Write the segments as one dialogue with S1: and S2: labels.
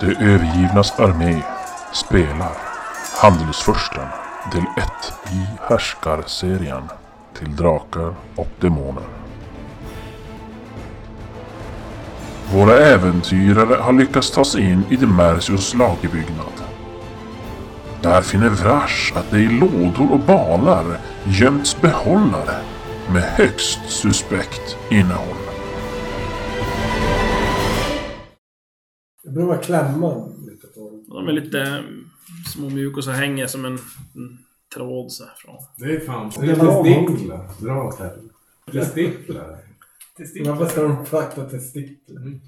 S1: De övergivnas armé spelar Handelsfursten del 1 i Härskarserien till Drakar och Demoner. Våra äventyrare har lyckats ta sig in i Demersios lagerbyggnad. Där finner Vrash att det i lådor och balar gömts behållare med högst suspekt innehåll.
S2: Jag provar klämma lite på den.
S3: De är lite eh, små mjuk och så hänger som en, en tråd så här från.
S4: Det är fan...
S2: Det är testiklar.
S4: Dra åt helvete. Testiklar.
S2: Varför ska de frakta testiklar?
S4: Mm.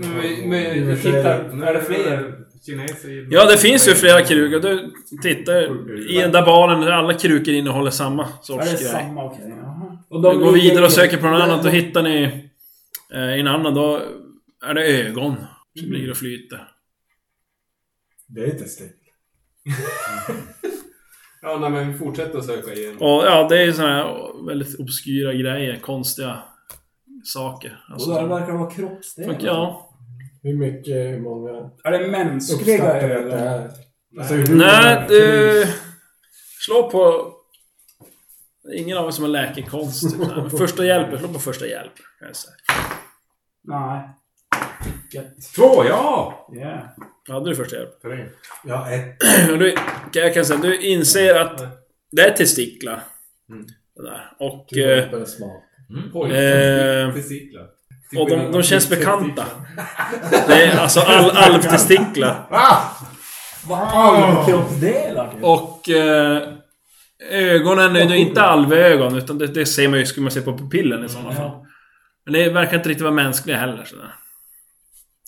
S4: Men
S2: vi-
S4: vi,
S2: men vi tittar.
S4: tittar. Är det fler? Kineser gillar-
S3: Ja, det finns ju flera krukor. Du tittar i den där baren där alla krukor innehåller samma
S5: Ja, det är
S3: sorts grej.
S5: samma okej. jaha.
S4: Och
S3: Du
S4: de
S3: går
S4: ligger
S3: vidare och
S4: i-
S3: söker på något annat och hittar ni eh, i en annan då är det ögon
S5: Mm.
S3: som ligger och flyter.
S2: Det är testiklar.
S4: Ja, nej, men vi fortsätter att söka igen.
S3: Och ja, det är ju såna här väldigt obskyra grejer. Konstiga saker. Alltså,
S5: Och där verkar det vara kroppsdelar.
S3: ja.
S2: Hur mycket, hur många
S5: Är det mänskliga
S2: uppskattar att det
S5: eller?
S2: här? Alltså, hur
S3: Nej,
S4: eh,
S2: många
S3: du...
S2: finns?
S3: Slå på... Ingen av oss som har läkekonst. typ så här. Första hjälpen. Slå på första hjälp. kan jag säga.
S5: Nej. Vilket.
S4: Två, ja!
S5: Yeah.
S3: Hade du första hjälp?
S4: Tre.
S2: Ja, ett.
S4: eh,
S3: Och du, kan jag kan säga, du inser att det är testiklar.
S4: Mm.
S3: Det där. Och, eh,
S2: Gud, vad smak.
S3: Eh,
S4: Testiklar.
S3: och de, de känns bekanta. Det är alltså all, alvtestiklar.
S4: Ah!
S5: Vad alvkroppsdelar typ?
S3: Och eh, ögonen är ju inte alvögon, utan det, det ser man ju, skulle man se på pupillen i sådana
S5: Mm,
S3: fall. Men det verkar inte riktigt vara mänskliga heller. Sådär.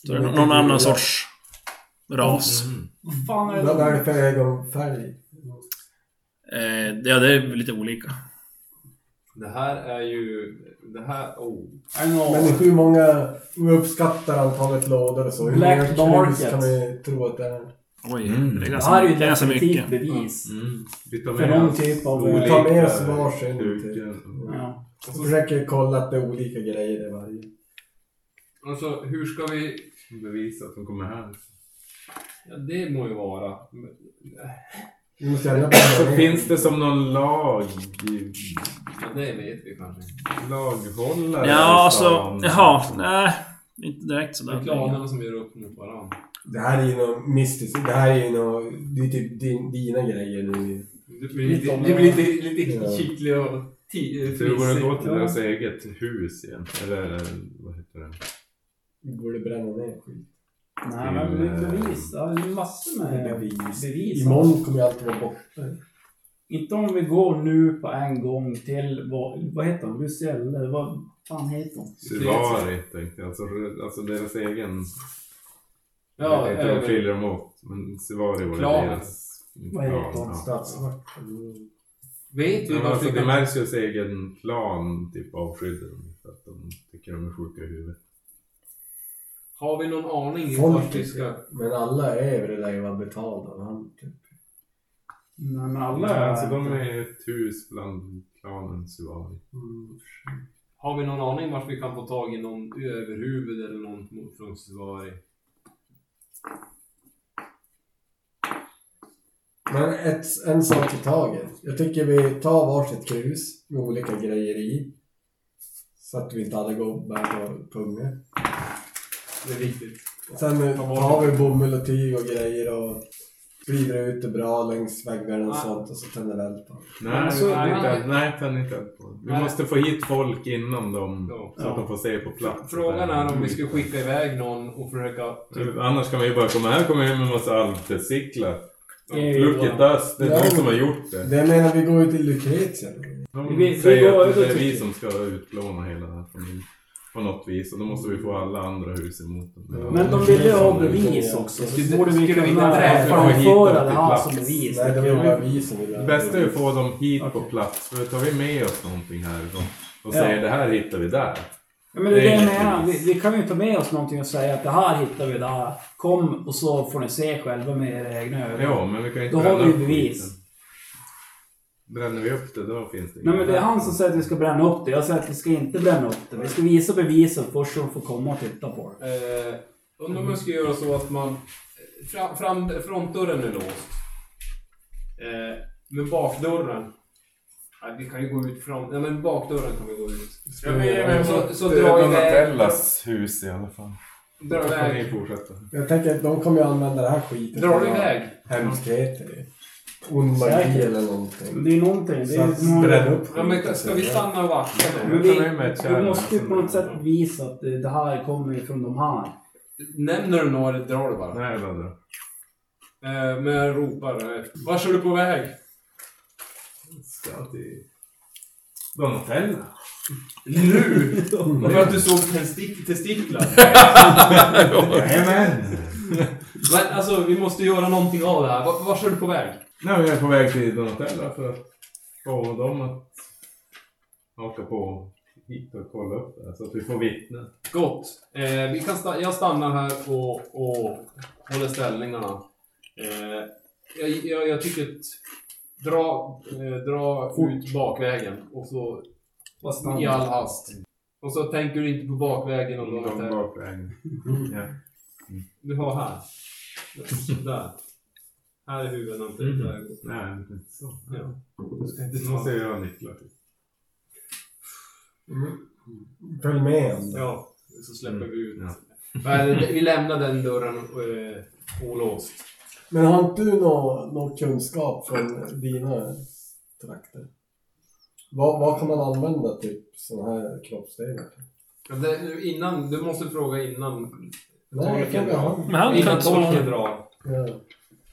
S3: Så det är nå- någon annan sorts ras.
S5: Vad fan är det?
S2: Vad är
S5: som-
S2: det för ögonfärg?
S5: mm,
S3: Eh, ja, det är lite olika.
S4: Det här är ju... Det här... Oh.
S5: Är det
S2: Men
S5: något?
S2: hur många... Om vi uppskattar antalet lådor och så. Hur
S5: Black
S2: många krus
S5: Market.
S2: kan vi tro att det är?
S3: Oj,
S4: Mm.
S3: det är
S5: Det
S3: ganska,
S5: här är ju
S3: det är ganska mycket.
S5: definitivt bevis.
S4: Mm. Vi tar
S5: För
S4: med
S5: någon
S4: oss
S5: typ av-
S4: olika
S2: Vi tar med oss varsin
S4: dukar.
S2: typ.
S5: Ja.
S2: Och så försöker vi kolla att det är olika grejer i varje.
S4: Alltså, hur ska vi bevisa att de kommer här? Ja, det må ju vara. Men-
S2: Vi måste gärna blanda
S4: Så
S2: ner.
S4: finns det som någon lag... i-
S6: Ja, det vet vi kanske.
S3: Ja,
S4: Laghållare? i
S6: liksom.
S3: alltså...
S4: stan?
S3: Jaha. Nej. Inte direkt
S6: Det är
S3: sådär.
S6: klanerna som gör upp mot varandra.
S2: Det här är ju något mystiskt. Det här är ju något... Det är typ din, dina grejer nu.
S6: Det blir lite,
S5: Lite-
S6: det blir lite, lite
S2: Ja.
S6: kittlig och ti-
S4: Så hur går det att
S6: fnissig.
S4: gå till deras eget hus igen? Eller vad heter det?
S2: Går det bränna ner skit?
S5: Nej, men det är
S3: Mm.
S5: bevis. Ja, det är massor med
S2: Bevis.
S5: bevis.
S2: Imorgon kommer jag alltid vara borta.
S5: Inte om vi går nu på en gång till... Vad, vad heter hon? Lucelle? Vad fan heter hon?
S4: Suvari tänkte jag. Alltså, alltså deras egen...
S6: Ja,
S4: jag vet inte,
S6: eller-
S4: de skiljer dem åt. Men Suvari var det
S6: Klan.
S4: deras...
S5: Vad heter de? Mm.
S2: Stadsvakt.
S6: Vet
S4: Ja,
S6: vi
S4: men
S6: varför
S4: alltså,
S6: vi
S4: det
S6: kan...
S4: märks ju att egen klan typ avskydde dem. För att de tycker de är sjuka i huvudet.
S6: Har vi någon aning om vart vi
S2: Folket.
S6: ska...
S2: Men alla är väl där jag var betald av han. typ.
S5: Nej, men
S4: Nej,
S5: alla
S4: alltså, de är ett hus bland klanen Suvari.
S2: Mm.
S6: Har vi någon aning vart vi kan få tag i någon överhuvud eller någon mot- från Suvari?
S2: Men ett, en sak i taget. Jag tycker vi tar varsitt krus med olika grejer i. Så att vi inte alla går och bär på punge.
S6: Det är viktigt.
S2: Sen eh, tar vi bomull och tyg och grejer och sprider ut det bra längs väggarna och sånt och så tänder vi eld på det.
S4: Nej,
S5: Men alltså,
S4: vi kan inte-
S6: nej.
S4: nej, tänd inte eld på dem. Vi
S6: Nej.
S4: måste få hit folk inom dem.
S6: Ja.
S4: Så att de får se på plats.
S6: Frågan är om vi
S4: Mm.
S6: skulle skicka iväg någon och försöka...
S4: Typ, Annars kan man ju bara komma här kommer hem med en massa alvtestiklar.
S5: Det är ju
S4: Look at us, det är
S2: Ja.
S4: de som har gjort det.
S2: Det menar vi går ju till Lucretia.
S4: De
S5: Vi- vi
S4: säger
S5: går
S4: att
S5: ut
S4: det
S5: och
S4: är vi
S5: tycker.
S4: som ska utplåna hela den här familjen. På något vis. Och då måste vi få alla andra hus emot dem. Ja.
S5: Men de ville ju ha bevis också. Så
S6: Skulle-
S5: borde vi
S6: skulle vi
S5: kunna
S6: inte träffa
S4: dem hit då
S5: framföra
S4: till
S5: det här
S4: plats?
S5: som bevis.
S2: Nej, det var ju bara vi som ville
S4: Det bästa är att få dem hit på
S5: Okej.
S4: plats. För tar vi med oss någonting härifrån och
S5: Ja.
S4: säger det här hittar vi där.
S5: Ja, men det är det jag
S4: Det är
S5: menar.
S4: inget bevis.
S5: Vi, vi kan ju ta med oss någonting och säga att det här hittar vi där. Kom och så får ni se själva med era egna ögon.
S4: Ja, men vi kan ju inte
S5: Då har
S4: bränna
S5: vi
S4: upp
S5: bevis.
S4: skiten. Bränner vi upp det, då finns det
S5: Nej
S4: inget.
S5: men det är han som säger att vi ska bränna upp det. Jag säger att vi ska inte bränna upp det. Vi ska visa bevisen först så de får komma och titta på det.
S6: Eh, Undrar om jag ska göra så att man... eh, Fram, fram, frontdörren är låst. Eh, men bakdörren... Nej, vi kan ju gå ut fram... Nej, men bakdörren kan vi gå ut.
S4: Jag ger mig
S6: Så, så
S4: mot eh,
S6: dra iväg...
S4: Donatellas hus i alla fall.
S6: Dra
S4: Då får ni
S6: iväg.
S4: fortsätta.
S2: Jag tänker att de kommer ju använda det här skiten.
S6: Dra
S2: till
S6: iväg.
S2: Hemskheter. Ond magi
S5: Säkert.
S2: eller
S5: Men
S2: någonting.
S5: Det är någonting. Det
S2: Så att
S5: är,
S2: bränna upp
S6: Ja, men ska vi stanna och vakta nu?
S5: Men vi,
S4: Jag tar med ett
S5: vi
S4: kärl.
S5: måste ju på något sätt visa att eh, det här kommer från de här.
S6: Nämner du några eller drar du bara?
S4: Nej, jag bara drar.
S6: Eh, men jag ropar. eh, Vart är du på väg?
S4: Ska till... Donatella?
S6: Nu! För att du såg testik- testiklar.
S4: Jajamän!
S6: Men alltså, vi måste göra någonting av det här. Vart var är du på väg?
S4: Nej, men jag är på väg till Donatella för att få dem att åka på hit och kolla upp det här, så att vi får vittnen.
S6: Gott. Eh, vi kan sta- jag stannar här och, och håller ställningarna. Eh, jag, jag, jag tycker att dra, eh, dra ut bakvägen och så
S5: Vad
S6: i
S5: snabbt.
S6: all hast. Och så tänker du inte på bakvägen och
S4: De
S6: låter
S4: bakvägen.
S5: Mm.
S4: Ja.
S6: Du har här. Där. Här är huvudnamnet. Där.
S4: Nej, men inte så.
S6: Ja. Du ska
S4: Du
S6: inte
S4: måste
S6: ta.
S4: jag göra nycklar.
S2: Mm. Följ med en.
S6: Ja, så släpper vi ut.
S4: Ja.
S6: Men, vi lämnar den dörren eh, olåst.
S2: Men har inte du någon, någon kunskap från dina trakter? Vad, vad kan man använda typ sådana här kroppsdelar till?
S6: Ja, Det, innan, du måste fråga innan.
S2: Nej, jag kan inte ha.
S3: Men han kan
S6: Innan tolken
S3: inte
S6: drar.
S2: Ja.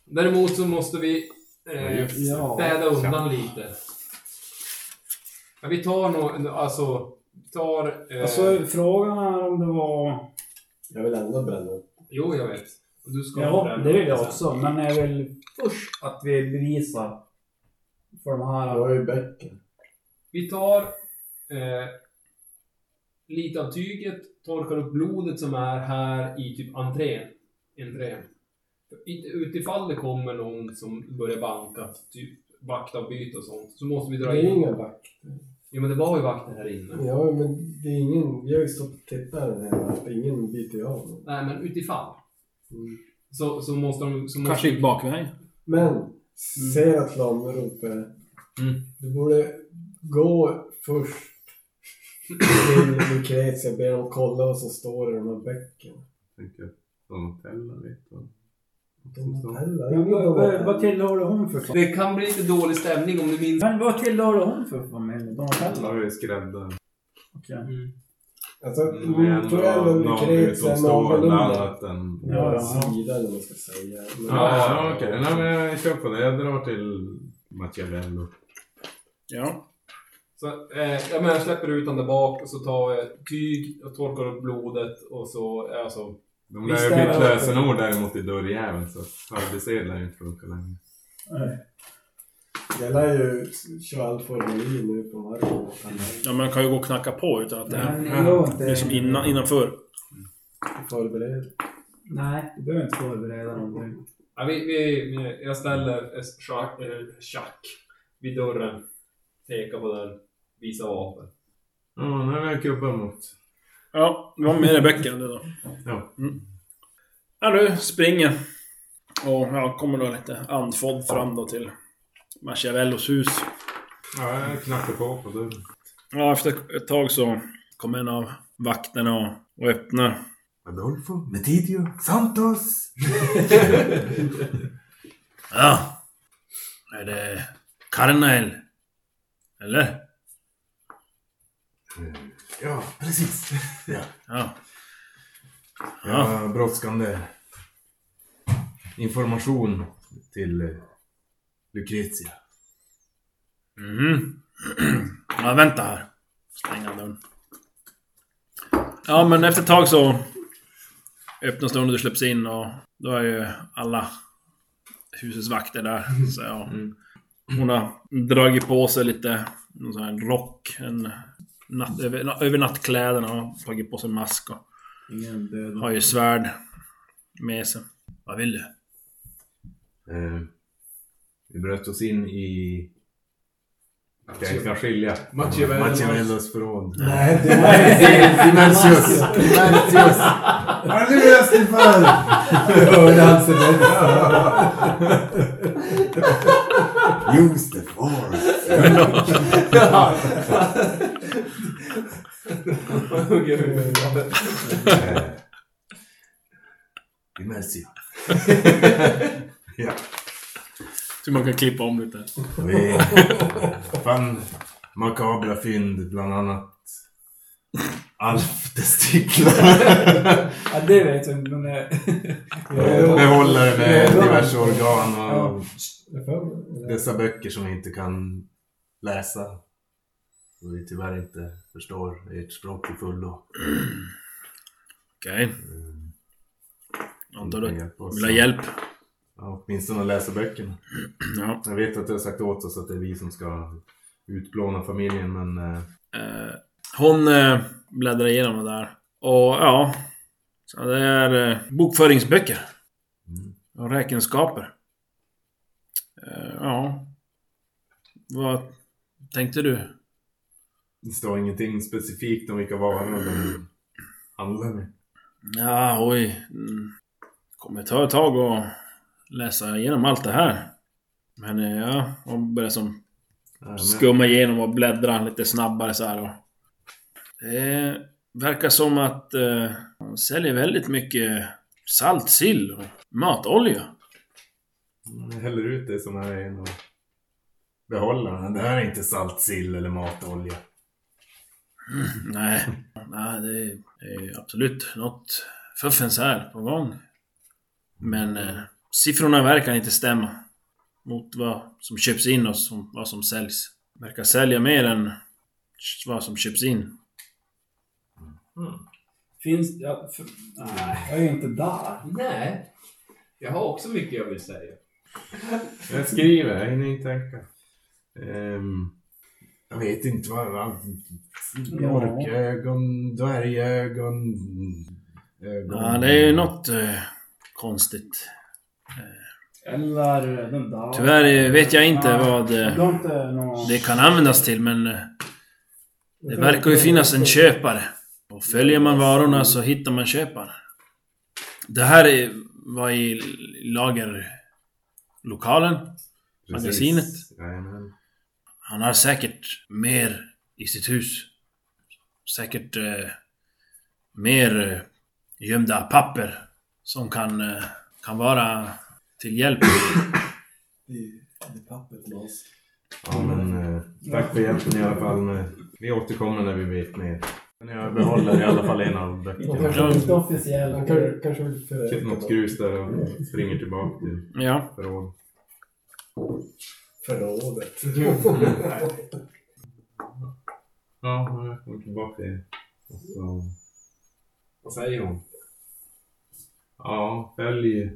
S6: Däremot så måste vi eh,
S5: Ja.
S6: städa undan lite. Ja, vi tar nog, alltså, vi tar... Eh,
S5: Alltså frågan är om det var...
S2: Jag vill ändå bränna upp.
S6: jo, jag vet. Och Du ska
S5: Ja,
S6: bränna
S5: det vill jag
S6: sen.
S5: också. Men jag vill först att vi bevisar för de
S2: Jag
S5: här...
S2: har ju bäcken.
S6: Vi tar eh, lite av tyget, torkar upp blodet som är här i typ entrén. entrén. I- Utifall det kommer någon som börjar banka, typ vaktavbyte och sånt, så måste vi
S2: Det
S6: dra
S2: är ju
S5: Mm.
S6: in.
S2: inga back.
S6: Jo men det var ju vakter här inne.
S2: Ja, men det är ingen... Vi har ju stått och tittat den här. Att ingen biter ju av någon.
S6: Nej men utifall.
S2: Mm.
S6: Så, så måste de... Så måste...
S3: Kanske gick bakvägen.
S5: Mm.
S2: Men, ser att Lam ropar. Du borde gå först till Lucretia och be dem kolla vad som står i de här böckerna.
S4: Tänker att Donatella vet vad som
S2: De
S4: står.
S2: heller.
S5: Men vad- vad- Vad
S2: de
S5: tillhörde hon för familj?
S6: Det kan bli lite dålig stämning om du minns...
S5: Men vad tillhörde hon för familj?
S4: Alla
S5: Donatella?
S4: har ju skräddare.
S5: Okej.
S2: Alltså,
S4: Men
S2: mm, tror jag
S4: ändå
S2: ändå
S4: någon
S2: Lucretia är
S4: utomstående
S2: någorlunda
S4: annat än...
S2: på
S5: Ja,
S2: ja,
S5: ja.
S2: sida eller vad man ska säga. Men,
S4: Ja, ja, okej. Nej, men jag kör på det. Jag drar till Machiavello.
S3: Ja.
S6: Så, eh, ja, men jag släpper ut den där bak och så tar jag tyg och torkar upp blodet och så... eh, Alltså,
S4: De
S5: Vi
S4: lär ju
S5: ställer
S4: byta
S5: upp.
S4: lösenord däremot i dörrjäveln så att arbetsed lär ju inte funka längre.
S2: Jag lär ju köra allt formulär nu på marken.
S3: Ja, men han kan ju gå och knacka på utan att det är...
S5: Men låt
S3: Det är som innan, innanför.
S2: Förbered.
S5: Nej, du behöver inte förbereda någonting.
S6: Ja, vi, vi, vi, jag ställer ett schack, eh, schack vid dörren. Pekar på den. Visar vapen.
S4: Ja, nu har vi en kubbe mot.
S3: Ja, det var mer i böckerna då.
S4: Ja.
S3: Mm. Ja, du springer. Och jag kommer då lite andfådd fram då till Machiavellos hus.
S4: Ja, jag knackar på på dörren.
S3: Ja, efter ett tag så kommer en av vakterna och, och öppnar.
S4: Adolfo, Metidio, Santos!
S3: Ja. Är det Karnael? Eller?
S4: Ja, precis. Ja,
S3: Ja.
S4: ja. brådskande information till eh, Lucrezia.
S3: Mhm. ja, vänta här. Stänga dörren. Ja, men efter ett tag så öppnas dörren och du släpps in och då är ju alla husets vakter där. Så ja. Hon har dragit på sig lite någon sån här rock. En natt, över, na- över nattkläderna har tagit på sig mask och
S5: Ingen död.
S3: har ju svärd med sig. Vad vill du?
S4: Eh, vi bröt oss in i Okej, vi ska skilja.
S2: Machiavelli.
S4: Machiavellos förråd.
S2: Nej, det var Dimersius. Dimersius.
S4: Har du löst det förr?
S2: Jag hörde han sig där.
S7: Use the force. Eh, Immersive. ja,
S3: Så man kan klippa om lite.
S7: vi fann makabra fynd, bland annat alftestiklar.
S5: Ja, det vet jag inte, men... eh,
S7: Behållare med diverse organ och
S2: Jag för mig.
S7: dessa böcker som vi inte kan läsa. Och vi tyvärr inte förstår ert språk till fullo.
S3: Okej. Antar
S7: Ni kan
S3: du
S7: hjälpa oss.
S3: vill ha hjälp?
S7: Ja, åtminstone läsa böckerna.
S3: Ja.
S7: Jag vet att du har sagt åt oss att det är vi som ska utplåna familjen, men... eh,
S3: Eh, hon eh, bläddrar igenom det där. Och ja. Så det är eh, bokföringsböcker. Och räkenskaper. Eh, ja. Vad tänkte du?
S7: Det står ingenting specifikt om vilka varor de handlar med.
S3: Ja, oj. Mm. Kommer ta ett tag och läsa igenom allt det här. Men eh, ja, hon börjar som
S7: Nej, men-
S3: skumma igenom och bläddra lite snabbare så här. Och. Det verkar som att eh, hon säljer väldigt mycket saltsill och matolja.
S7: Jag häller ut det som här är och behåller den. Det här är inte saltsill eller matolja.
S3: Nej, nej det är- det är absolut något fuffens här på gång. Men eh, siffrorna verkar inte stämma mot vad som köps in och som, vad som säljs. Verkar sälja mer än vad som köps in.
S5: Finns... Ja, för, nej, jag är inte där.
S6: Nej. Jag har också mycket jag vill säga.
S7: Jag skriver, jag hinner inte tänka. Ehm, jag vet inte vad... vad mörkögon, dvärgögon... Ögon.
S3: Ja, det är ju något eh, konstigt.
S5: Eller den där.
S3: Tyvärr eh, vet jag inte
S5: Ja,
S3: vad eh,
S5: Du har inte någon...
S3: det kan användas till men eh, det verkar ju finnas en köpare. Och följer man varorna så hittar man köparen. Det här är- var i lagerlokalen.
S7: Precis.
S3: magasinet.
S7: Jajamän.
S3: Han har säkert mer i sitt hus. Säkert eh, mer eh, gömda papper som kan, eh, kan vara till hjälp.
S2: Det- Det är pappret loss.
S7: Ja, men eh, tack för hjälpen i alla fall. Med, vi återkommer när vi vet mer. Men jag behåller i alla fall en av böckerna.
S2: Ja.
S3: Mm.
S5: Kanske inte officiell.
S2: Han kanske, kanske vill
S7: Köper Typ något
S2: föröka
S7: grus där och springer tillbaka till
S3: Ja,
S7: förråd.
S2: förrådet.
S7: Ja, jag kommer tillbaka till det. Och så... Vad säger hon? Ja, följ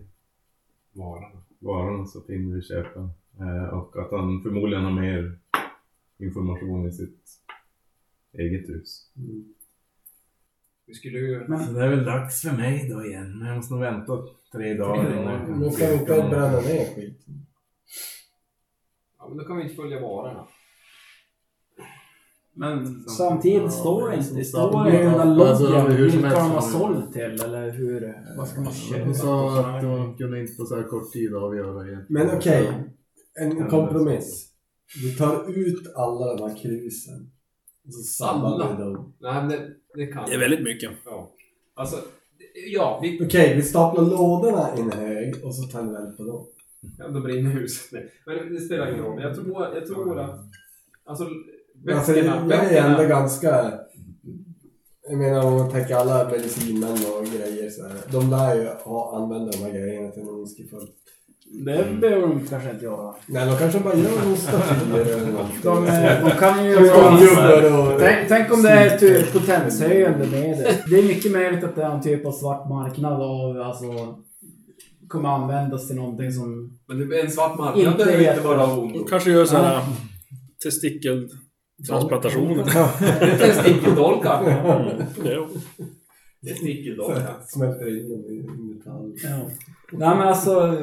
S7: varorna. Varorna så finner vi köpen. Eh, och att han förmodligen har mer information i sitt eget hus.
S6: Vi skulle ju...
S7: Så det är väl dags för mig då igen. Men jag måste nog vänta tre dagar innan jag kan
S2: Men ska vi inte bränna ner skit?
S6: Ja, men då kan vi inte följa varorna.
S5: Men samtidigt står det inte. Det står i
S8: Ja,
S5: den där
S8: alltså,
S5: loggen
S8: hur som
S5: vilka
S8: helst
S5: de
S8: har
S5: har
S8: vi-
S5: sålt till eller hur... Vad ska man köpa?
S8: Hon sa att de kunde inte på så här kort tid avgöra egentligen.
S2: Men okej, en kompromiss. Vi tar ut alla de här krusen. Och så samlar vi dem.
S6: Nej, men det, det kan
S3: det är väldigt mycket.
S6: Ja. Alltså, ja, vi...
S2: Okej, vi staplar lådorna i en hög och så tar vi väl på dem.
S6: Ja, de brinner huset. Nej, Men det spelar ingen roll. Jag tror, jag tror att... Alltså, böckerna...
S2: Alltså, jag jag är
S6: böckerna-
S2: ändå ganska... Jag menar om man tänker alla medicinen och grejer så här. De lär ju ha, använda de här grejerna till någon ondskefullt.
S5: Det behöver de kanske inte göra.
S2: Nej, de kanske bara gör någon statyer eller något.
S5: De, eh, de kan ju...
S2: Skitgubbar och...
S5: Tänk, tänk om det är typ potenshöjande medel. Det är mycket möjligt att det är en typ av svart marknad av alltså kommer användas till någonting som...
S6: Men det är en svart marknad.
S5: Inte
S6: Det behöver inte
S5: jätte-
S6: vara av ondo.
S3: Mm. kanske gör så här testikeltransplantationer.
S6: Testikeltolkar.
S2: Så
S6: Testikeltolkar.
S2: här, Smälter in dem i metall.
S5: Ja. Nej men alltså...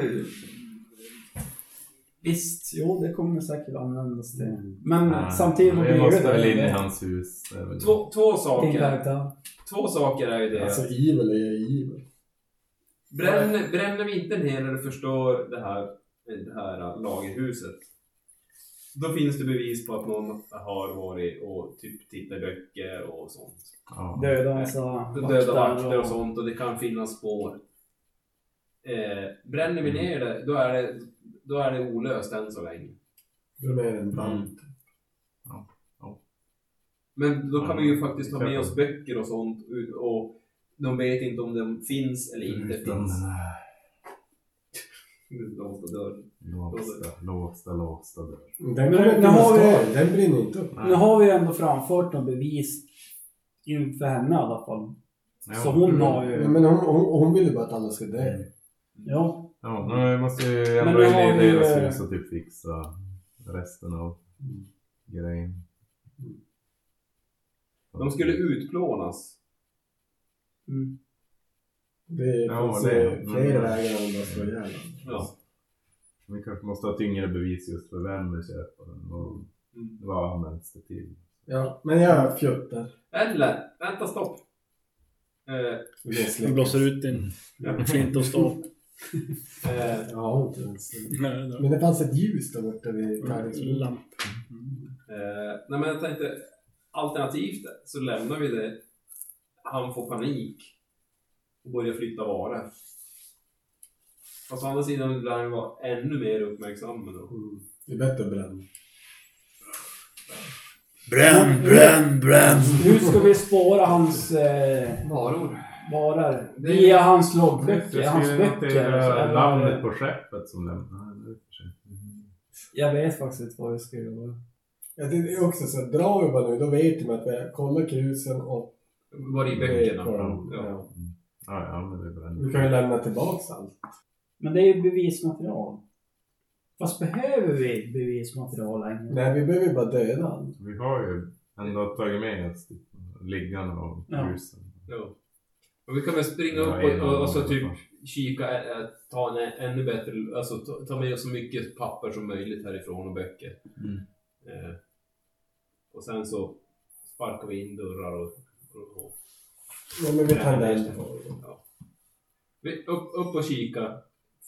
S5: Visst, jo det kommer säkert användas till. Men
S7: Nej,
S5: samtidigt...
S7: Vi måste väl in i hans hus. det är väl-
S6: Två, två
S5: Din
S6: saker.
S5: karaktär.
S6: Två saker är ju det.
S2: Alltså evil är ju evil.
S6: Bränn, bränner vi inte ner när du förstör det här, det här lagerhuset. Då finns det bevis på att någon har varit och typ tittat i böcker och sånt.
S7: Ja.
S5: Döda alltså, massa
S6: Döda vakter och sånt och det kan finnas spår. Eh, bränner vi ner det då, är det, då är det olöst än så länge.
S2: Då är det
S7: Mm.
S2: en brand.
S6: Men då kan
S7: Mm.
S6: vi ju faktiskt ta med oss böcker och sånt ut- och de vet inte om de finns eller inte
S7: Utan den
S6: finns.
S7: här
S6: De står dörr.
S7: låsta, låsta, låsta dörren.
S2: Den
S5: Men
S2: kommer
S5: nu
S2: inte
S5: har
S2: vara
S5: vi-
S2: kvar. Den brinner inte upp.
S5: Nu har vi ju ändå framfört något bevis. Inför henne i alla fall. Så hon har ju...
S2: Nej, men hon, hon, hon vill ju bara att alla ska dö.
S7: Mm.
S5: Ja.
S7: Ja, men vi måste ju
S5: Men
S7: ändå
S5: nu
S7: in
S5: har
S7: i
S5: vi ju-
S7: deras hus och typ fixa resten av grejen.
S6: De skulle utplånas.
S5: Mm.
S2: Det
S7: Ja,
S2: finns
S7: det är-
S2: ju flera
S7: mm.
S2: vägar än att bara slå ihjäl
S6: Ja.
S7: Vi kanske måste ha tyngre bevis just för vem vi köper den och
S5: Mm.
S7: vad används det till.
S2: Ja, men jag fjuttar.
S6: Eller, vänta stopp. Eh,
S3: Du blåser ut din flint och stål.
S6: eh,
S2: Ja, inte ens.
S3: Nej, det
S2: Men det fanns ett ljus där borta vid
S3: var-
S2: tärningsbordet.
S3: Lamp.
S6: Eh, nej men jag tänkte, alternativt så lämnar vi det. Han får panik och börjar flytta varor. Fast å andra sidan lär han vara ännu mer uppmärksam då.
S2: Mm. Det är bättre att bränna.
S3: Bränn, bränn, bränn!
S5: Hur ska vi spåra hans eh,
S6: Varor?
S5: varor?
S6: Det-
S5: Via hans
S7: Jag
S5: loggböcker, hans
S7: skulle
S5: böcker. alltså.
S7: notera
S5: eller-
S7: namnet på skeppet som lämnar. det i och för sig. Mm.
S5: Jag vet faktiskt inte vad vi ska göra.
S2: Ja, det är också så här, drar vi bara nu, då vet de att vi kollar krusen och...
S6: Var i böckerna?
S2: på dem.
S6: Ja.
S2: Ja.
S7: Ja, ja, men det är väl
S2: Vi kan ju lämna tillbaks allt.
S5: Men det är ju bevismaterial. Fast behöver vi bevismaterial längre?
S2: Nej, vi behöver ju bara döda allt.
S7: Vi har ju ändå tagit med oss typ, liggande och
S5: Ja.
S7: husen.
S6: Ja. Och vi kan väl springa
S7: Ja,
S6: upp och,
S7: innan-
S6: och, och så typ kika, eh, eh, ta en ä- ännu bättre, alltså ta, ta med oss så mycket papper som möjligt härifrån och böcker.
S7: Mm.
S6: Eh, och sen så sparkar vi in dörrar och, och, och
S2: Nej, men vi tar den.
S6: Ja. Vi- Upp, upp och kika.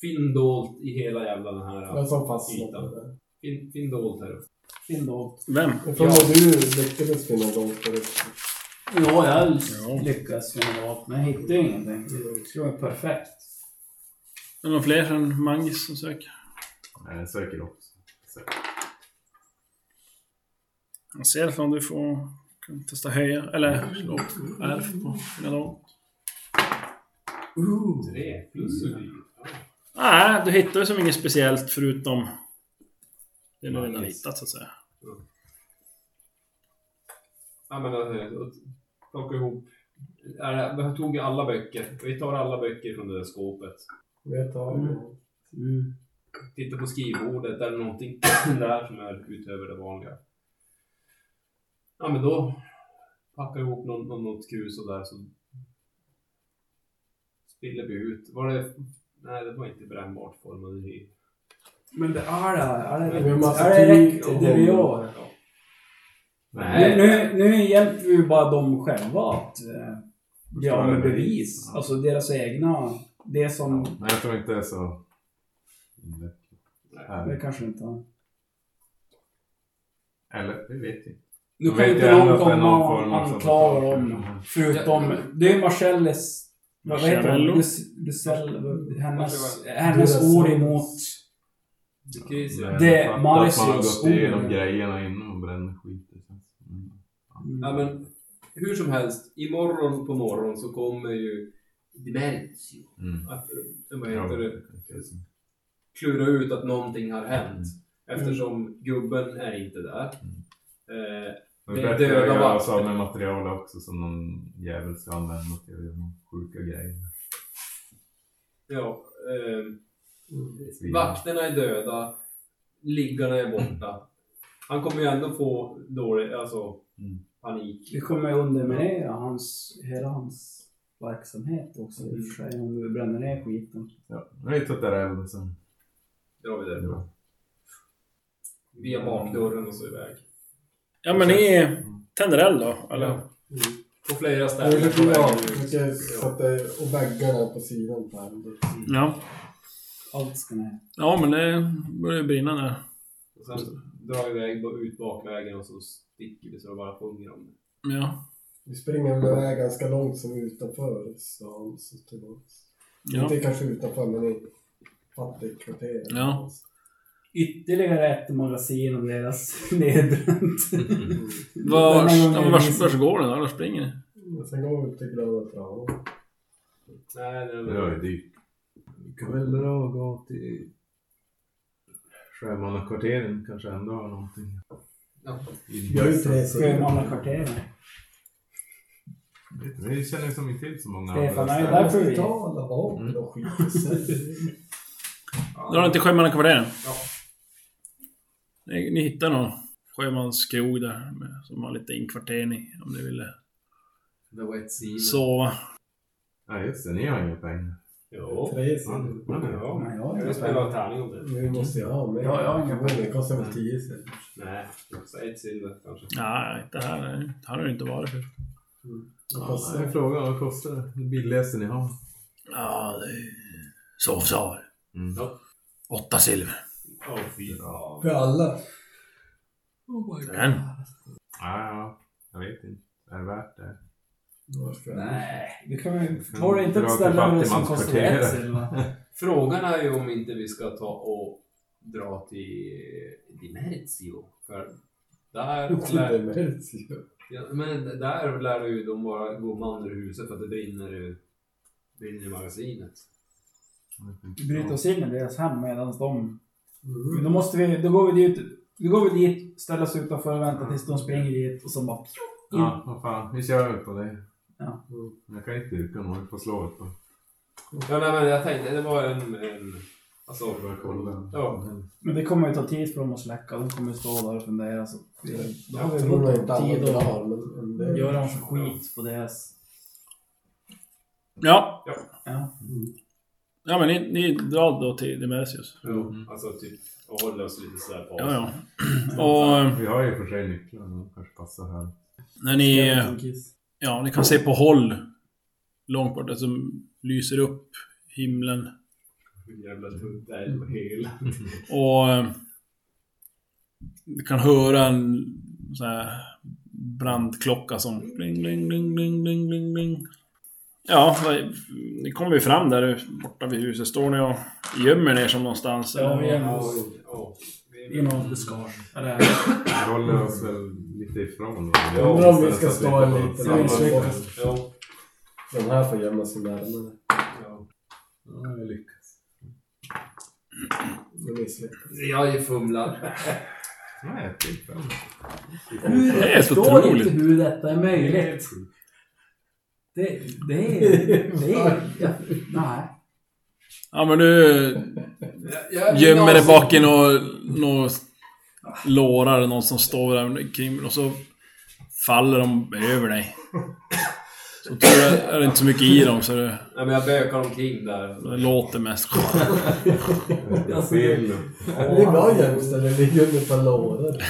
S6: Finn dolt i hela jävla den här.
S2: Den som fastnade.
S6: Ytan.
S2: på det.
S6: Finn, finn dolt här uppe.
S5: Finn då.
S3: Vem?
S2: Jag tror att du lyckades finna gång på det.
S5: Ja, jag
S3: Ja.
S5: lyckas med det men jag hittade ju ingenting. Det skulle vara perfekt.
S3: Är det någon fler än Mangis som söker?
S7: Nej, jag söker också. Söker.
S3: Han ser ifrån du får kan testa höja, eller slå R på dina lag.
S6: Tre plus mm.
S3: Nej, du hittar ju som inget speciellt förutom det du redan hittat så att säga.
S6: Ja men alltså, och plocka ihop. Är det- Jag tog ju alla böcker. Vi tar alla böcker från det där skåpet.
S2: Vi tar mm.
S5: Mm.
S6: Titta på skrivbordet. Är det någonting där som är utöver det vanliga? Ja men då packar jag ihop någon, någon, något krus och där så spiller vi ut. Var det... Nej, det var inte brännbart formade hy.
S5: Men det är det här. Är det
S2: Vi har
S5: rätt,
S2: massa
S5: är det,
S2: tyg
S5: rätt
S2: och-
S5: det vi gör? Nu,
S6: Nej.
S5: nu, nu hjälper vi ju bara dem själva att eh, bli av med bevis.
S7: Ja.
S5: Alltså deras egna. Det som...
S7: Nej, jag tror inte det är så invecklat.
S5: Det
S7: Här.
S5: kanske inte...
S7: Eller, vi vet inte.
S5: Nu
S7: De
S5: kan ju
S7: vet
S5: inte
S7: ju ändå
S5: någon
S7: att det är
S5: komma
S7: någon form
S5: och
S7: av
S5: anklaga
S7: sabotage.
S5: dem. Förutom... Det är Marcelles... Vad heter hon?
S3: Marcello.
S5: Lus- Lucell- Hennes,
S6: Marcello.
S5: hennes ord emot...
S6: Chris, ja.
S7: Men
S5: Det
S7: jag fattar att Man har
S5: Marcius
S7: gått igenom
S5: ord.
S7: grejerna innan och bränner skit. Det känns- Mm.
S6: Ja, men hur som helst, imorgon på morgon så kommer ju Dementio
S7: Mm.
S6: att eh, vad
S7: Ja,
S6: heter det,
S7: det är så.
S6: klura ut att någonting har hänt.
S7: Mm.
S6: Eftersom gubben är inte där. Eh,
S7: Men Det
S6: Det är
S7: är bättre att
S6: döda
S7: göra
S6: vakter.
S7: sig av med material också som någon jävel ska använda till att göra någon sjuka grejer.
S6: ja, eh,
S7: Svin.
S6: vakterna är döda, liggarna är borta. Han kommer ju ändå få dålig, alltså
S7: Mm.
S6: panik.
S5: Vi kommer ju underminera hans, hela hans verksamhet också i och för sig. Om vi bränner ner skiten.
S7: Ja, nu har vi tittat där även sen.
S6: Drar vi
S7: Det är
S6: det.
S7: bra.
S6: via bakdörren och så iväg.
S3: Ja men ni tänder eld då, eller?
S6: På flera
S2: Jag
S6: ställen.
S2: vill gå
S6: på
S2: av.
S6: vägen ut.
S2: Jag satte och väggarna på sidan på här.
S3: Ja.
S5: Allt ska ner.
S3: Ja men det börjar brinna där.
S6: Och sen drar vi iväg bara ut bakvägen och så sticker vi så det bara sjunger om det.
S3: Ja.
S2: Vi springer iväg ganska långt som utanför stan. Så tillbaks.
S3: ja.
S2: Inte kanske utanför men i fattigkvarteret.
S3: Ja.
S5: Ytterligare ett magasin om deras nedbränt.
S3: Vars,
S5: Denna gången
S3: ja, men vars,
S5: minns-
S3: vars går den då? Vars springer ni?
S2: Men Sen går vi till Gröna Tranan.
S6: Nej, det
S7: Det var ju dyrt. Vi kan väl dra och gå till Sjömannakvarteren kanske ändå har någonting.
S6: Ja.
S7: I-
S2: Jag är ute i
S5: Sjömannakvarteren.
S7: Vi känner som inte till så många
S5: Stefan,
S7: andra
S5: nej,
S7: ställen.
S5: där får vi.
S2: Betala vapen och skit.
S3: Drar ni till Sjömannakvarteren? Ja. Ni, ni hittar någon sjömanskrog där med, som har lite inkvartering om ni ville
S6: The Wet Sea.
S3: sova.
S7: Ja just det, ni har inga pengar.
S6: Jo.
S2: Tre
S7: Ja,
S2: sidor.
S7: ja, ja.
S6: Ja.
S5: Ja,
S6: Jag
S5: ja.
S6: vill spela en tärning om det.
S2: Nu måste jag ha med.
S5: Ja, jag har inga
S2: pengar. Det kostar väl tio sidor.
S6: Nej, också ett silver kanske.
S3: Nej, det här, är- här har det inte varit förut.
S2: Det
S7: Ja,
S2: kostar
S7: jag frågar vad kostar det? Det billigaste ni har?
S3: Ja, det är sovsal.
S7: Mm.
S3: Åtta silver.
S6: Åh fy fan.
S2: för alla.
S5: Oh
S3: Den.
S7: Ja, ja, jag vet inte. Är det värt det?
S5: Nej, vi kan väl... Tar det inte ett ställe som kostar ett
S7: Fattigmanskvarteret.
S5: silver?
S6: Frågan är ju om inte vi ska ta och dra till Dimerzio. För där lär, ja, men där lär ju de bara gå man ur huset för att det brinner, ju- brinner i magasinet.
S5: Vi bryter oss in i deras hem medan de... Men Då måste vi... Då går vi dit... Då går vi dit, ställer oss utanför och väntar tills de springer dit och så bara...
S7: Ja, vad fan. Vi kör väl på det.
S5: Ja.
S7: Jag kan inte yrka något på slaget då.
S6: Ja, nej, men jag tänkte det var en... en alltså,
S7: Bara kolla.
S6: Ja.
S5: Men det kommer ju ta tid för dem att släcka. De kommer ju stå där och fundera. Så vi, då har
S2: Jag
S5: vi
S2: tror
S5: gott
S2: inte
S5: om
S2: alla
S5: tid att
S2: drar men- men det...
S5: göra en skit på deras...
S3: Ja.
S5: Ja.
S3: Ja men ni, ni drar då till Demersius.
S6: jo, alltså typ och håller oss lite sådär på
S3: Ja, ja. Och eh,
S7: Vi har ju i och för sig nycklar. De kanske passar här.
S3: när ni... eh,
S5: Jävla kiss.
S3: Ja, ni kan se på håll långt bort, alltså lyser upp himlen.
S6: Jävla tungt eld på hela.
S3: Och eh, du kan höra en sån här brandklocka som bling, bling, bling, bling, bling, bling, bling. Ja, vad- ni kommer ju fram där borta vid huset. Står ni och gömmer er som någonstans?
S5: Ja, vi
S3: eller?
S5: gömmer oss
S6: Ja, vi
S5: i något buskage. Eller...
S7: Vi håller oss väl lite ifrån.
S2: Jag undrar om vi ska stå en liten-
S7: Samma
S2: Ja,
S7: folk.
S6: Jo,
S2: Den här får gömma sig närmare.
S6: jo.
S7: Ja, jag lyckas.
S2: Det misslyckas.
S6: Jag fumlar.
S7: Nej, jag tillfälle.
S3: Det är så
S5: Jag förstår
S3: otroligt.
S5: inte hur detta är möjligt. Det, det är... Det är... ja, Nej.
S3: Ja, men du
S6: Jag, jag,
S3: gömmer dig bak i några nå lårar, eller någon som står där kring och så faller de över dig. Så tror jag är det inte så mycket i dem så det,
S6: Nej, men jag bökar omkring där.
S3: det låter mest.
S7: Jag ser
S2: Det är bra jämställd, det ligger under ett par lådor.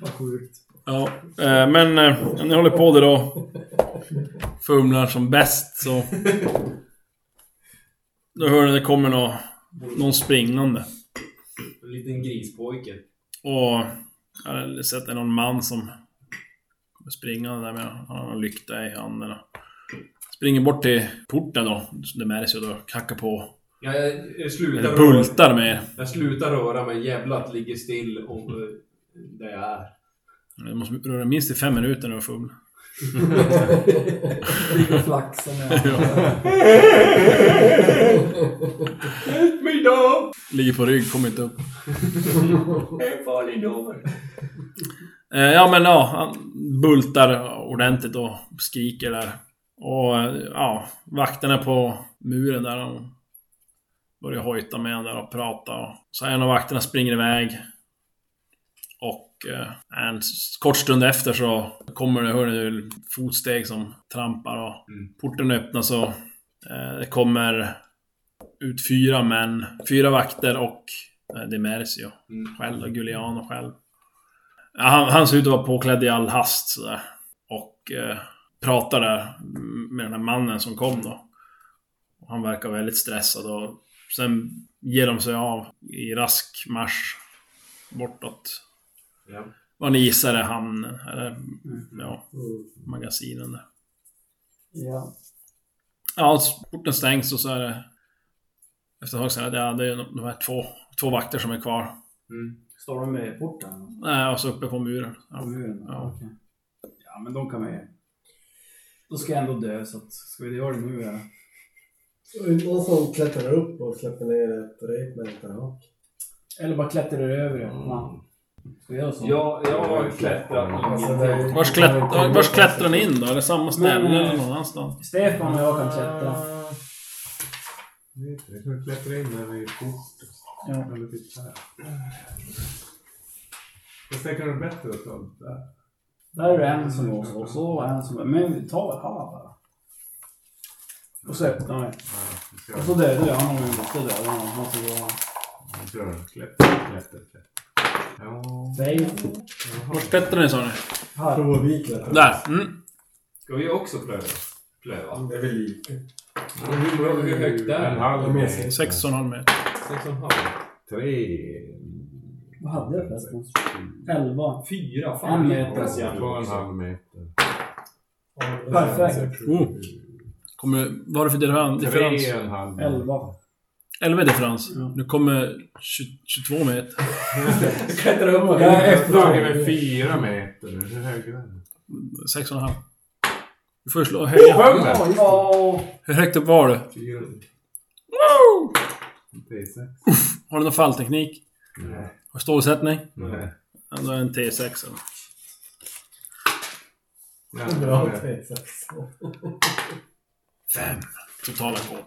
S5: Vad sjukt.
S3: Ja, eh, men eh, om ni håller på det då. Fumlar som bäst så... Då hör ni det kommer nå, någon springande.
S6: En liten grispojke.
S3: Och jag har sett någon man som kommer springande där med han har en lykta i handen. och Springer bort till porten då. Det märks ju då. Knackar på.
S6: Jag, jag, jag, slutar
S3: Eller
S6: röra,
S3: bultar med er.
S6: jag slutar röra mig. Jävlat ligger still om eh, där jag är.
S3: Du måste röra minst i fem minuter nu och fumla.
S5: Ligger och flaxar med...
S6: Help me dog!
S3: Ligger på rygg, kommer inte upp.
S6: I'm falling over!
S3: Eh, Ja men ja, han bultar ordentligt och skriker där. Och eh, ja, vakterna på muren där de börjar hojta med honom där och prata. Och så en av vakterna springer iväg. Och eh, en s- kort stund efter så kommer det, hör ni nu, fotsteg som trampar och porten öppnas och eh, det kommer ut fyra män, fyra vakter och eh, Demersio
S6: Mm.
S3: själv och Giuliano själv. Ja, han, han ser ut att vara påklädd i all hast sådär. Och eh, pratar där med den här mannen som kom då. Och han verkar väldigt stressad och sen ger de sig av i rask marsch bortåt.
S6: Ja. Mm.
S3: Vad ni gissar är hamnen, eller ja, magasinen där.
S5: Ja.
S3: Ja, och så porten stängs och så är det... Efter ett tag så är det, ja, det är de de här två, två vakter som är kvar.
S5: Står de med porten?
S3: Nej, och så uppe på muren. Ja.
S5: På muren?
S3: Ja.
S5: okej. Ja, men de kan man ju... Då ska jag ändå dö, så att, ska vi göra det nu eller?
S2: Någon som klättrar upp och släpper ner ett rep med en karhak.
S5: Eller bara klättra över det.
S3: Mm.
S5: Man. Ska jag göra så?
S6: Ja, jag har klättrat
S2: Alltså, det är-
S3: Vars, klätt, vars klättrar ni in då? Är det samma ställe
S5: Men, eh,
S3: eller någon annanstans?
S5: Stefan och jag kan klättra.
S4: Vet du, jag klättrar in där vid porten.
S5: Ja.
S4: Eller typ så här. Fast det kan vara bättre att ta det där.
S5: Där är det en som går så, och så är en som går. Men vi tar han bara. Och så öppnar vi.
S4: Vi kör,
S5: Och så dödar jag honom. och Så dödar jag honom. Och så går han.
S4: vi kör. Klättra, klättra, klättra. Ja,
S5: Nej.
S4: jaha.
S3: Vars klättrar ni sa ni?
S5: Här.
S2: Prova vi klättrar.
S3: Där! Mm.
S6: Ska vi också plöva? Plöva?
S2: Det är väl lika.
S6: Men Hur, bra- hur högt är
S4: En
S6: det?
S4: halv meter.
S3: 16,5 meter.
S6: Sex och en halv?
S4: Tre.
S5: Vad hade jag förresten? Elva.
S6: Fyra?
S5: En
S6: Fan,
S5: meter.
S6: jävla
S4: Två och en
S6: jävla-
S4: halv meter.
S5: Perfekt.
S3: Oh. Kommer, vad är det för differens?
S4: Tre
S3: differens?
S4: och en halv meter.
S5: Elva.
S3: 11 differens.
S5: Ja.
S3: Nu kommer 20, 22 meter.
S5: Klättra upp och
S4: Jag
S5: jag
S4: är
S5: är
S4: efterdragen
S5: efter.
S4: med fyra meter. Hur hög är den?
S3: 6,5. Du får ju slå höja.
S4: Fem meter.
S5: Ja.
S3: Hur högt upp var du?
S4: Fyra. T6.
S3: Har du någon fallteknik?
S4: Nej.
S3: Har du stålsättning?
S4: Nej.
S3: Ja, då är det en T6 eller?
S2: Bra
S4: Nej.
S2: tvätt.
S3: Fem. Totala KP.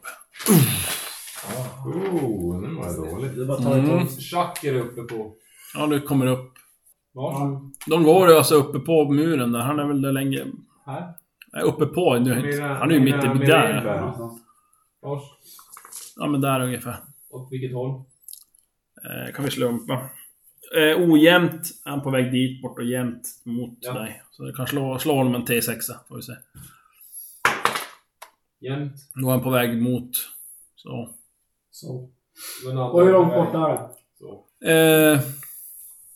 S4: Oh, nu var det dåligt.
S5: Det är bara att ta ett
S3: Mm.
S5: tag.
S6: Schack är det uppe på.
S3: Ja, du kommer upp.
S6: Var?
S3: De går ju alltså uppe på muren där. Han är väl där länge...
S6: Här?
S3: Nej, uppe på. Nu, är inte-
S4: Mira-
S3: han är ju mitt
S4: Mira-
S3: i...
S4: Miranda.
S3: Där.
S6: Vars?
S3: Ja, men där ungefär.
S6: Åt vilket håll?
S3: Eh, kan vi slumpa. Eh, ojämnt. är Han på väg dit bort och jämnt mot
S6: Ja.
S3: dig. Så du kan slå, slå honom en T6 får vi se.
S6: Jämnt?
S3: Nu är han på väg mot... Så.
S5: Så.
S6: Men andra
S5: Och hur långt bort är det?
S6: Så.
S3: Eh,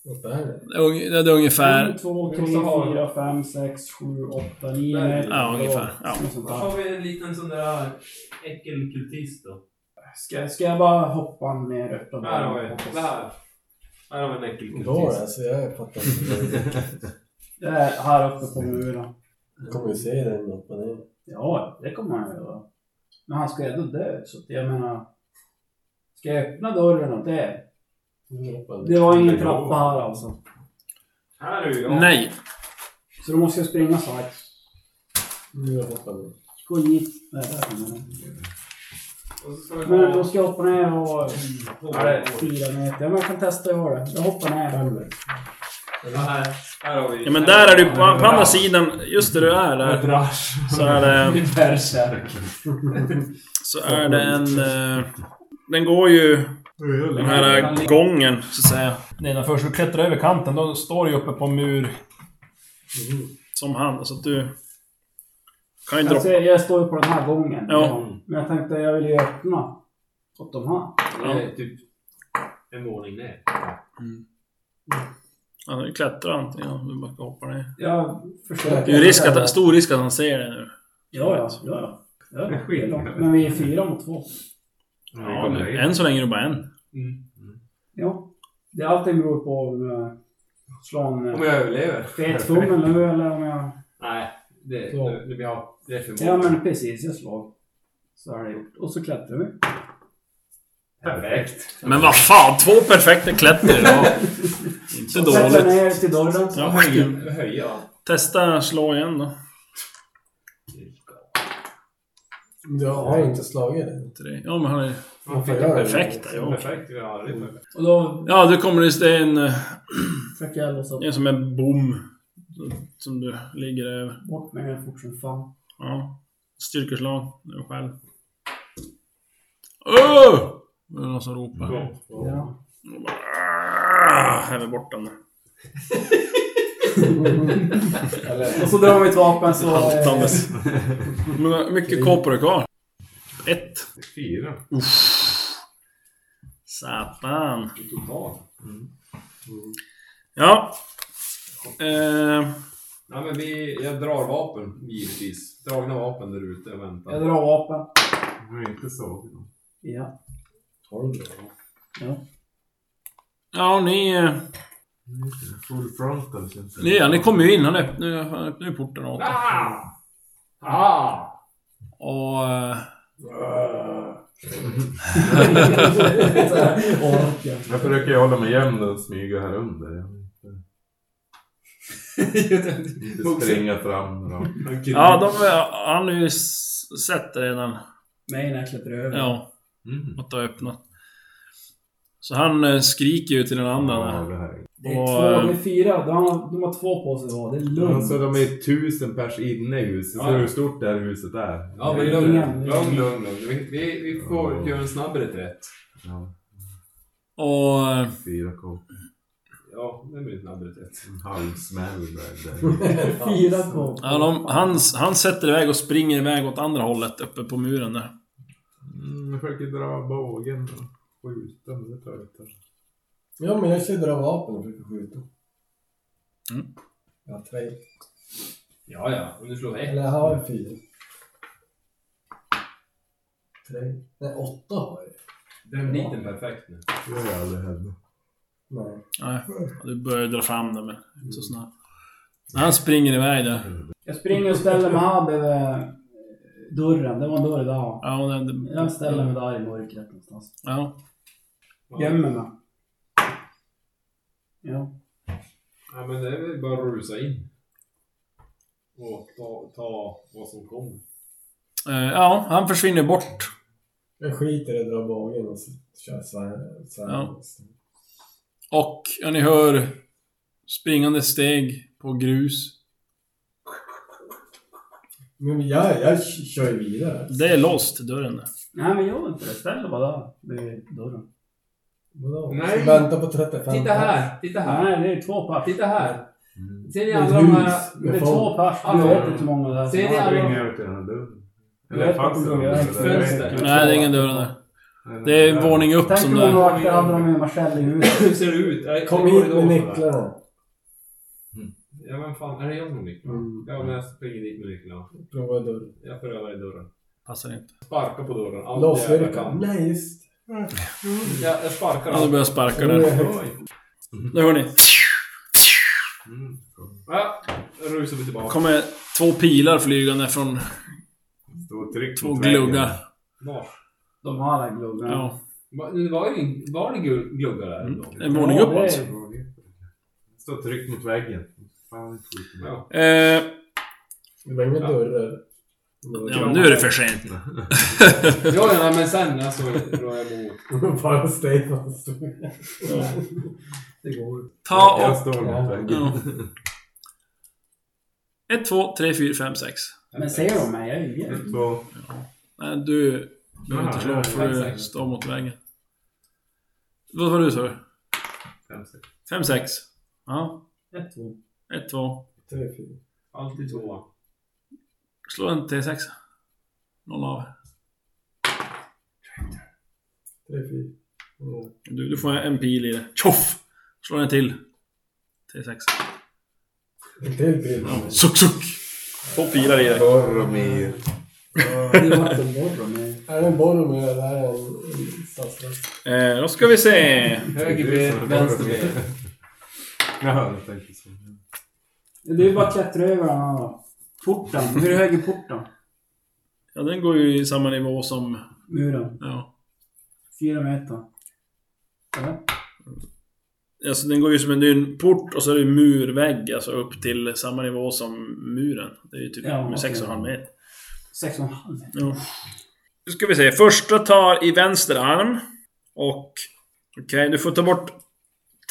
S2: Vad är det?
S3: unge- det är ungefär...
S5: 1, 2, 3, 4, 5, 6, 7, 8, 9,
S6: Nej.
S5: 11.
S3: Ja, ungefär. Ja.
S6: Då får vi en liten sån där äckelkultist då.
S5: Ska, ska jag bara hoppa ner öppna
S6: Här har vi.
S5: dörren?
S6: Där. Här har vi en
S2: Då
S6: äckelkultist.
S2: alltså, jag fattar inte.
S5: Det är här uppe på muren.
S2: Du kommer ju se den upp och ner.
S5: Ja, det kommer han göra. Men han ska ju ändå dö, så att jag menar... Ska jag öppna dörren åt det?
S2: Nu hoppar den.
S5: Det var ingen trappa här alltså.
S6: Här är ju jag.
S3: Nej!
S5: Så då måste jag springa så här.
S2: Nu hoppar den.
S5: Gå hit. Nej, där kommer den.
S6: Och så ska vi
S5: Men då
S6: gå...
S5: ska jag hoppa ner och...
S6: Här är-
S5: Fyra meter. Ja, men jag kan testa att göra det. Jag hoppar ner.
S2: Fem.
S6: Ja, Här, här har vi...
S3: Ja, men där är du på, på andra sidan. Just där du är där. Så är det...
S5: Bärsärk.
S3: Så är det en... Eh, den går ju... Den här gången, så att säga. Nej, när först du klättrar över kanten, då står du ju uppe på en mur. Som han, så att du... Kan ju
S5: Alltså,
S3: droppa...
S5: jag står ju på den här gången.
S3: Ja.
S5: Men jag tänkte jag vill ju öppna åt de här.
S6: Det är typ en våning ner.
S3: Han klättrar antingen om du bara hoppar ner.
S5: Jag försöker.
S3: Det är ju risk att, stor risk att han ser dig nu.
S5: Ja, ja.
S6: alltså,
S5: ja, ja. ja det är långt. Men vi är fyra mot två.
S3: Ja, men än så länge är det bara en.
S5: Ja. Det allting beror på om jag slår en
S6: Om
S5: eh,
S6: jag överlever?
S5: fet tumme nu eller om jag...
S6: Nej, det,
S2: Så.
S6: det, det, blir jag- det är för
S5: Ja,
S6: många.
S5: men precis. Jag slår. Så är det gjort. Och så klättrar vi.
S6: Perfekt.
S3: Men vad fan, två perfekta klättrar idag. Inte
S5: Klättrar
S3: dåligt.
S5: ner till dörren.
S3: Ja, herregud.
S6: Höja. höja.
S3: Testa slå igen då.
S2: Du har inte slagit den.
S3: Tre. Ja, men han är...
S6: Man
S2: fick
S6: fick
S2: en
S6: en
S3: perfekt, ja.
S6: Perfekt, vi har aldrig perfekt.
S5: Och då
S3: Ja, du kommer det... Det är en... eh,
S5: försöker jag låsa
S3: Det är som en bom. Som du ligger över.
S5: bort mig fort som fan.
S3: Ja. Styrkeslag. Nu själv. Öh! Det är någon som ropar.
S5: Ja.
S3: Och bara, "Ah", Häver bort den.
S5: Och så drar vi ett vapen så... Eh,
S3: Haltandes. Men Mycket kåpor är kvar. Ett.
S4: Fyra.
S3: Satan. Ja. Eh,
S6: Nej, men vi, jag drar vapen, givetvis. Dragna vapen där ute och
S5: jag
S6: väntar.
S5: drar vapen.
S4: Jag har inte sovit.
S5: Ja.
S2: Har du bra?
S3: ja, ni, eh,
S4: Full frontal känns det.
S3: ni, ja, ni kom ju in. Han öppnade, han öppnade ju porten åt er.
S6: Ah! Ah!
S3: Och... eh,
S4: Jag försöker ju hålla mig jämn och smyga här under. Jag vill inte springa fram. Då.
S3: Ja, de, han har ju s- sett det redan.
S5: Nej, när jag klättrar över.
S3: Ja,
S4: Mm.
S3: att det har öppnat. Så han eh, skriker ju till den andra
S4: Ja,
S3: där.
S4: det här är...
S5: Det är
S3: Och,
S5: två, det
S3: eh,
S5: är fyra. De har, de har två på sig var. Det är lugnt.
S4: Alltså de är tusen pers inne i huset. Ser
S6: Ja.
S4: du hur stort det här huset är?
S6: Ja, men lugn, lugn, lugn. lugn. Vi, vi, vi får
S4: Ja.
S6: göra en snabb reträtt.
S4: Ja,
S3: Och... eh,
S4: fyra kåpor.
S6: Ja, det blir en snabb reträtt.
S4: En halv smäll där. där.
S5: Fyra på.
S3: Ja, de, han, han sätter iväg och springer iväg åt andra hållet uppe på muren där.
S4: Mm, jag försöker dra bågen och skjuta, men det tar ett tag.
S2: Ja, men jag kör dra vapen och försöker skjuta.
S3: Mm.
S2: Jag har tre.
S6: Ja, ja. Om du slår ett.
S2: Eller jag har jag fyra? Tre? Nej, åtta har jag.
S6: Den blir den perfekt nu.
S4: Det har jag aldrig hänt.
S2: Nej.
S3: Nej, du börjar dra fram den men inte så snabbt. Han springer iväg där.
S5: Jag springer och ställer mig här bredvid eh, dörren. Det var en dörr idag.
S3: Ja, och den,
S5: Jag ställer mig där i mörkret någonstans.
S3: ja.
S5: Gömmer mig. Ja.
S6: Ja, men det är väl bara att rusa in. Och ta, ta vad som kommer.
S3: Eh, ja, han försvinner bort.
S2: Jag skiter i att dra bågen och så kör jag svär- svär-
S3: Ja. Och ja, ni hör springande steg på grus.
S2: Men jag, jag kör ju vidare.
S3: Det är låst, dörren där.
S5: Nej, men gör inte det. Ställ dig bara där bredvid dörren.
S2: Vadå?
S6: Nej.
S2: Så Vänta på 35
S6: Titta här! Titta här!
S5: Nej, det är två pers.
S6: Titta här! Ser
S2: Det
S6: ni
S2: är ett
S6: alla de här...
S2: hus
S5: Det
S2: med
S5: är
S2: folk.
S5: två pers. Jag vet inte hur många det är.
S6: Ser
S4: Jag
S6: ni alla...
S4: springer över till den här dörren.
S5: Jag
S4: Eller
S5: vet
S4: fanns
S5: inte
S4: det
S5: om
S4: någon
S5: jag
S4: där? Jag
S5: har ett
S4: vet
S6: fönster.
S4: inte.
S3: Nej, det är ingen dörr där. Det är våning upp
S5: Tänk
S3: som
S5: om
S3: det
S5: de
S3: är.
S5: vaktar andra med Marcel i huvudet.
S6: Hur ser det ut? Är-
S2: Kom
S6: är
S2: hit
S6: korridor
S2: med
S6: sådär?
S2: nycklarna.
S6: Ja, men fan. Är det jag som har nycklarna?
S2: Mm.
S6: Ja, men jag springer dit med nycklarna.
S2: Prova dörren.
S6: Jag förövar i dörren.
S3: Passar inte.
S6: Sparkar på dörren. allt jag
S2: Låsvirka.
S6: kan.
S2: Nej, just
S6: Jag, jag sparkar.
S3: Ja, då
S6: allt.
S3: börjar jag sparka
S2: Nu är
S3: där.
S2: jag högt.
S3: Nu hör ni.
S6: Ja, då rusar vi tillbaka.
S3: kommer två pilar flygande från
S4: Stå och tryck
S3: två
S4: mot väggen.
S3: gluggar.
S6: Vars?
S5: De har den gluggen.
S3: Ja.
S6: Va- det Var det, ing- var det gul- gluggar där?
S3: Mm.
S6: då?
S3: En våning upp alltså.
S4: Stå och tryck mot väggen. Fan, skit med.
S6: Ja.
S3: Eh,
S2: Det var inga
S6: Ja.
S2: dörrar.
S3: ja, men nu är det för sent.
S6: Ja, ja, men sen alltså, rör jag mot.
S2: Bara Stefan stod
S5: Det går.
S3: Ta
S4: Jag
S3: och...
S4: står mot väggen.
S3: Ja. Ett, två, tre, fyra, fem, sex.
S5: Men ser de mig? Jag är ju jävligt-
S4: Ett, två.
S3: Nej, du behöver inte slå för du står mot vägen. Vad var du sa du?
S4: Fem, sex.
S3: Fem, sex? Ja.
S5: Ett, två.
S3: Ett, två.
S2: tre, fyra.
S6: Alltid tvåa.
S3: Slå en T6. Någon av er.
S2: Tre, fyra. Ja.
S3: du, du får en pil i det. Tjoff! Slå en till. T6.
S2: En till bild.
S3: Suck, suck! Två pilar i det.
S4: Boromir.
S5: Det är vattenborrar med...
S2: Är det en Boromir eller är det en- en statslös?
S3: Eh, då ska vi se.
S6: Höger ben, vänster ben.
S4: Jaha, jag tänkte så.
S5: Det är bara att klättra över den här då. porten. Hur hög är porten?
S3: Ja, den går ju i samma nivå som...
S5: Muren.
S3: Ja.
S5: Fyra meter. Eller?
S3: Alltså den går ju som en, det är en port och så är det ju murvägg, alltså upp till samma nivå som muren. Det är ju typ
S5: Ja, okej.
S3: 6,5 meter.
S5: Sex och en halv meter.
S3: Ja. Nu ska vi se. Första tar i vänster arm. Och... Okej, du får ta bort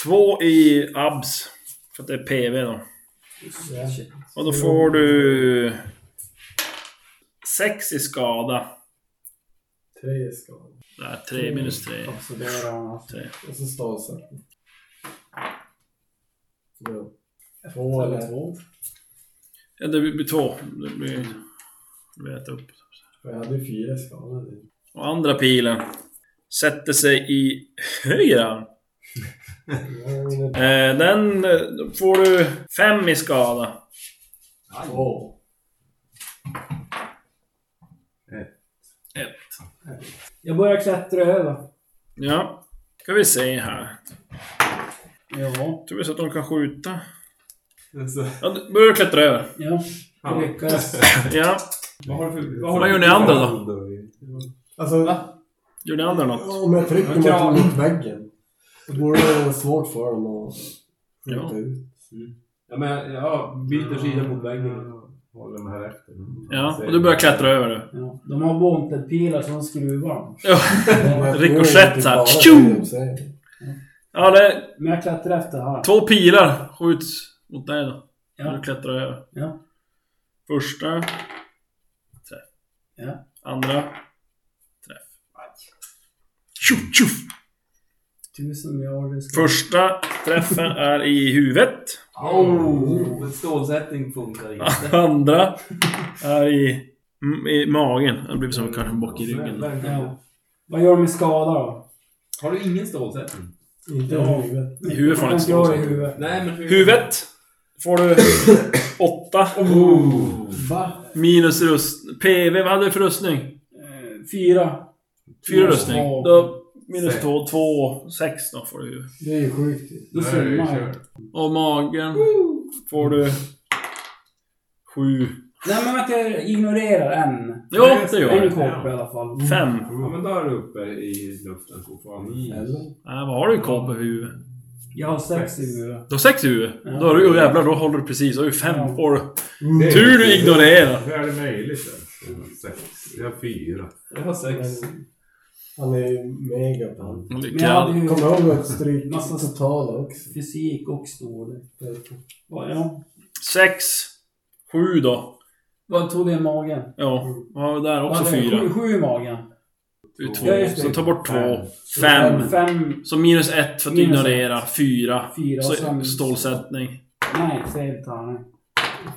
S3: två i abs. För att det är PV då. Och då får du... Sex i skada.
S2: Tre skador.
S3: Nej, tre minus tre.
S5: Absorberar han alltså.
S3: tre.
S2: Och så stavsättning. Ja. Två eller? Två.
S3: Ja, det blir blir två. Det blir... Vi äter upp.
S2: För jag hade ju fyra skador.
S3: Och andra pilen sätter sig i höger arm.
S2: Jag har en
S3: Eh, den eh, då får du fem i skada.
S2: två.
S3: Ett.
S5: Jag börjar klättra över.
S3: Ja. Ska vi se här.
S5: Ja.
S3: Tror vi så att de kan skjuta.
S4: Alltså,
S3: Ja, du börjar klättra över.
S5: Ja. Jag lyckas.
S3: Ja.
S4: vad har du för...
S3: Vad gör ni andra då?
S2: Alltså,
S3: Gör ni andra något?
S2: om jag trycker
S6: Kram.
S2: mot, mot väggen. Då borde det vara svårt för dem att skjuta
S3: Ja.
S2: ut.
S6: Ja, men jag- jag byter sida mot väggen.
S7: Håller mig här efter.
S3: Ja. Och du börjar klättra över du.
S5: Ja. De har wanted-pilar som skruvar.
S3: Ja.
S2: Men
S3: Ricochet
S2: det
S3: så här.
S2: är bara
S3: Tjo!
S2: det de säger.
S3: Ja, det är
S5: Men jag klättrar efter här.
S3: två pilar skjuts mot dig då.
S5: Ja.
S3: Du klättrar över.
S5: Ja.
S3: Första. Träff.
S5: Ja.
S3: Andra. Träff. Tjoff, tjoff!
S5: Tusen miljarder skruvar.
S3: Första träffen är i huvudet.
S6: Oh, ett stålsättning funkar inte.
S3: Andra är i, mm, i magen. Det blir som kanske en bock i ryggen.
S5: Ja. Vad gör de med skada då?
S6: Har du ingen stålsättning?
S2: Inte
S5: Ja.
S2: i huvudet.
S3: I huvudet får han inte
S5: Kanske jag i
S3: slå.
S5: huvudet.
S6: Nej, men hur...
S3: Huvudet får du åtta. Mm.
S5: Va?
S3: Oh. Minus rust... PV, vad hade du för rustning?
S5: Eh, Fyra.
S3: Fyra
S5: Minus
S3: rustning.
S5: två.
S3: Då minus två, två, sex då får du.
S2: Det är ju sjukt ju.
S5: Då svimmar jag.
S3: Och magen får du... Sju.
S5: Nej men att jag ignorerar en.
S3: Ja, det gör
S5: En
S3: du.
S5: korp i alla fall. Mm.
S3: Fem.
S4: Ja, men då är du uppe i luften fortfarande.
S2: Eller?
S3: Äh, vad har du i KP huvudet?
S5: Jag har sex i huvudet.
S3: Du har sex i huvudet? Då har du... Oh, jävlar, då håller du precis. Då har du fem. Får du.
S4: Det är-
S3: Tur du ignorerar.
S4: Hur är det möjligt ens? Jag har Sex. Jag har fyra.
S6: Jag har sex.
S2: Men han är ju mega på allt.
S5: Men jag hade ju
S2: Kommer ihåg att stryka
S5: Massa-
S2: totala också.
S5: fysik och storlek. Ja, ja.
S3: Sex. Sju då.
S5: Vad tog det i magen?
S3: Ja, ja där också
S5: Vad hade jag?
S3: fyra.
S5: Sju, sju i magen.
S3: Det är
S5: Ja,
S3: två.
S5: just det.
S3: Så ta bort två.
S5: Fem.
S3: Fem.
S5: Fem.
S3: Så minus ett för att
S5: Minus
S3: ignorera. Fyra.
S5: Fyra och
S3: Så
S5: sen-
S3: stålsättning.
S5: Nej, säg inte han. nej.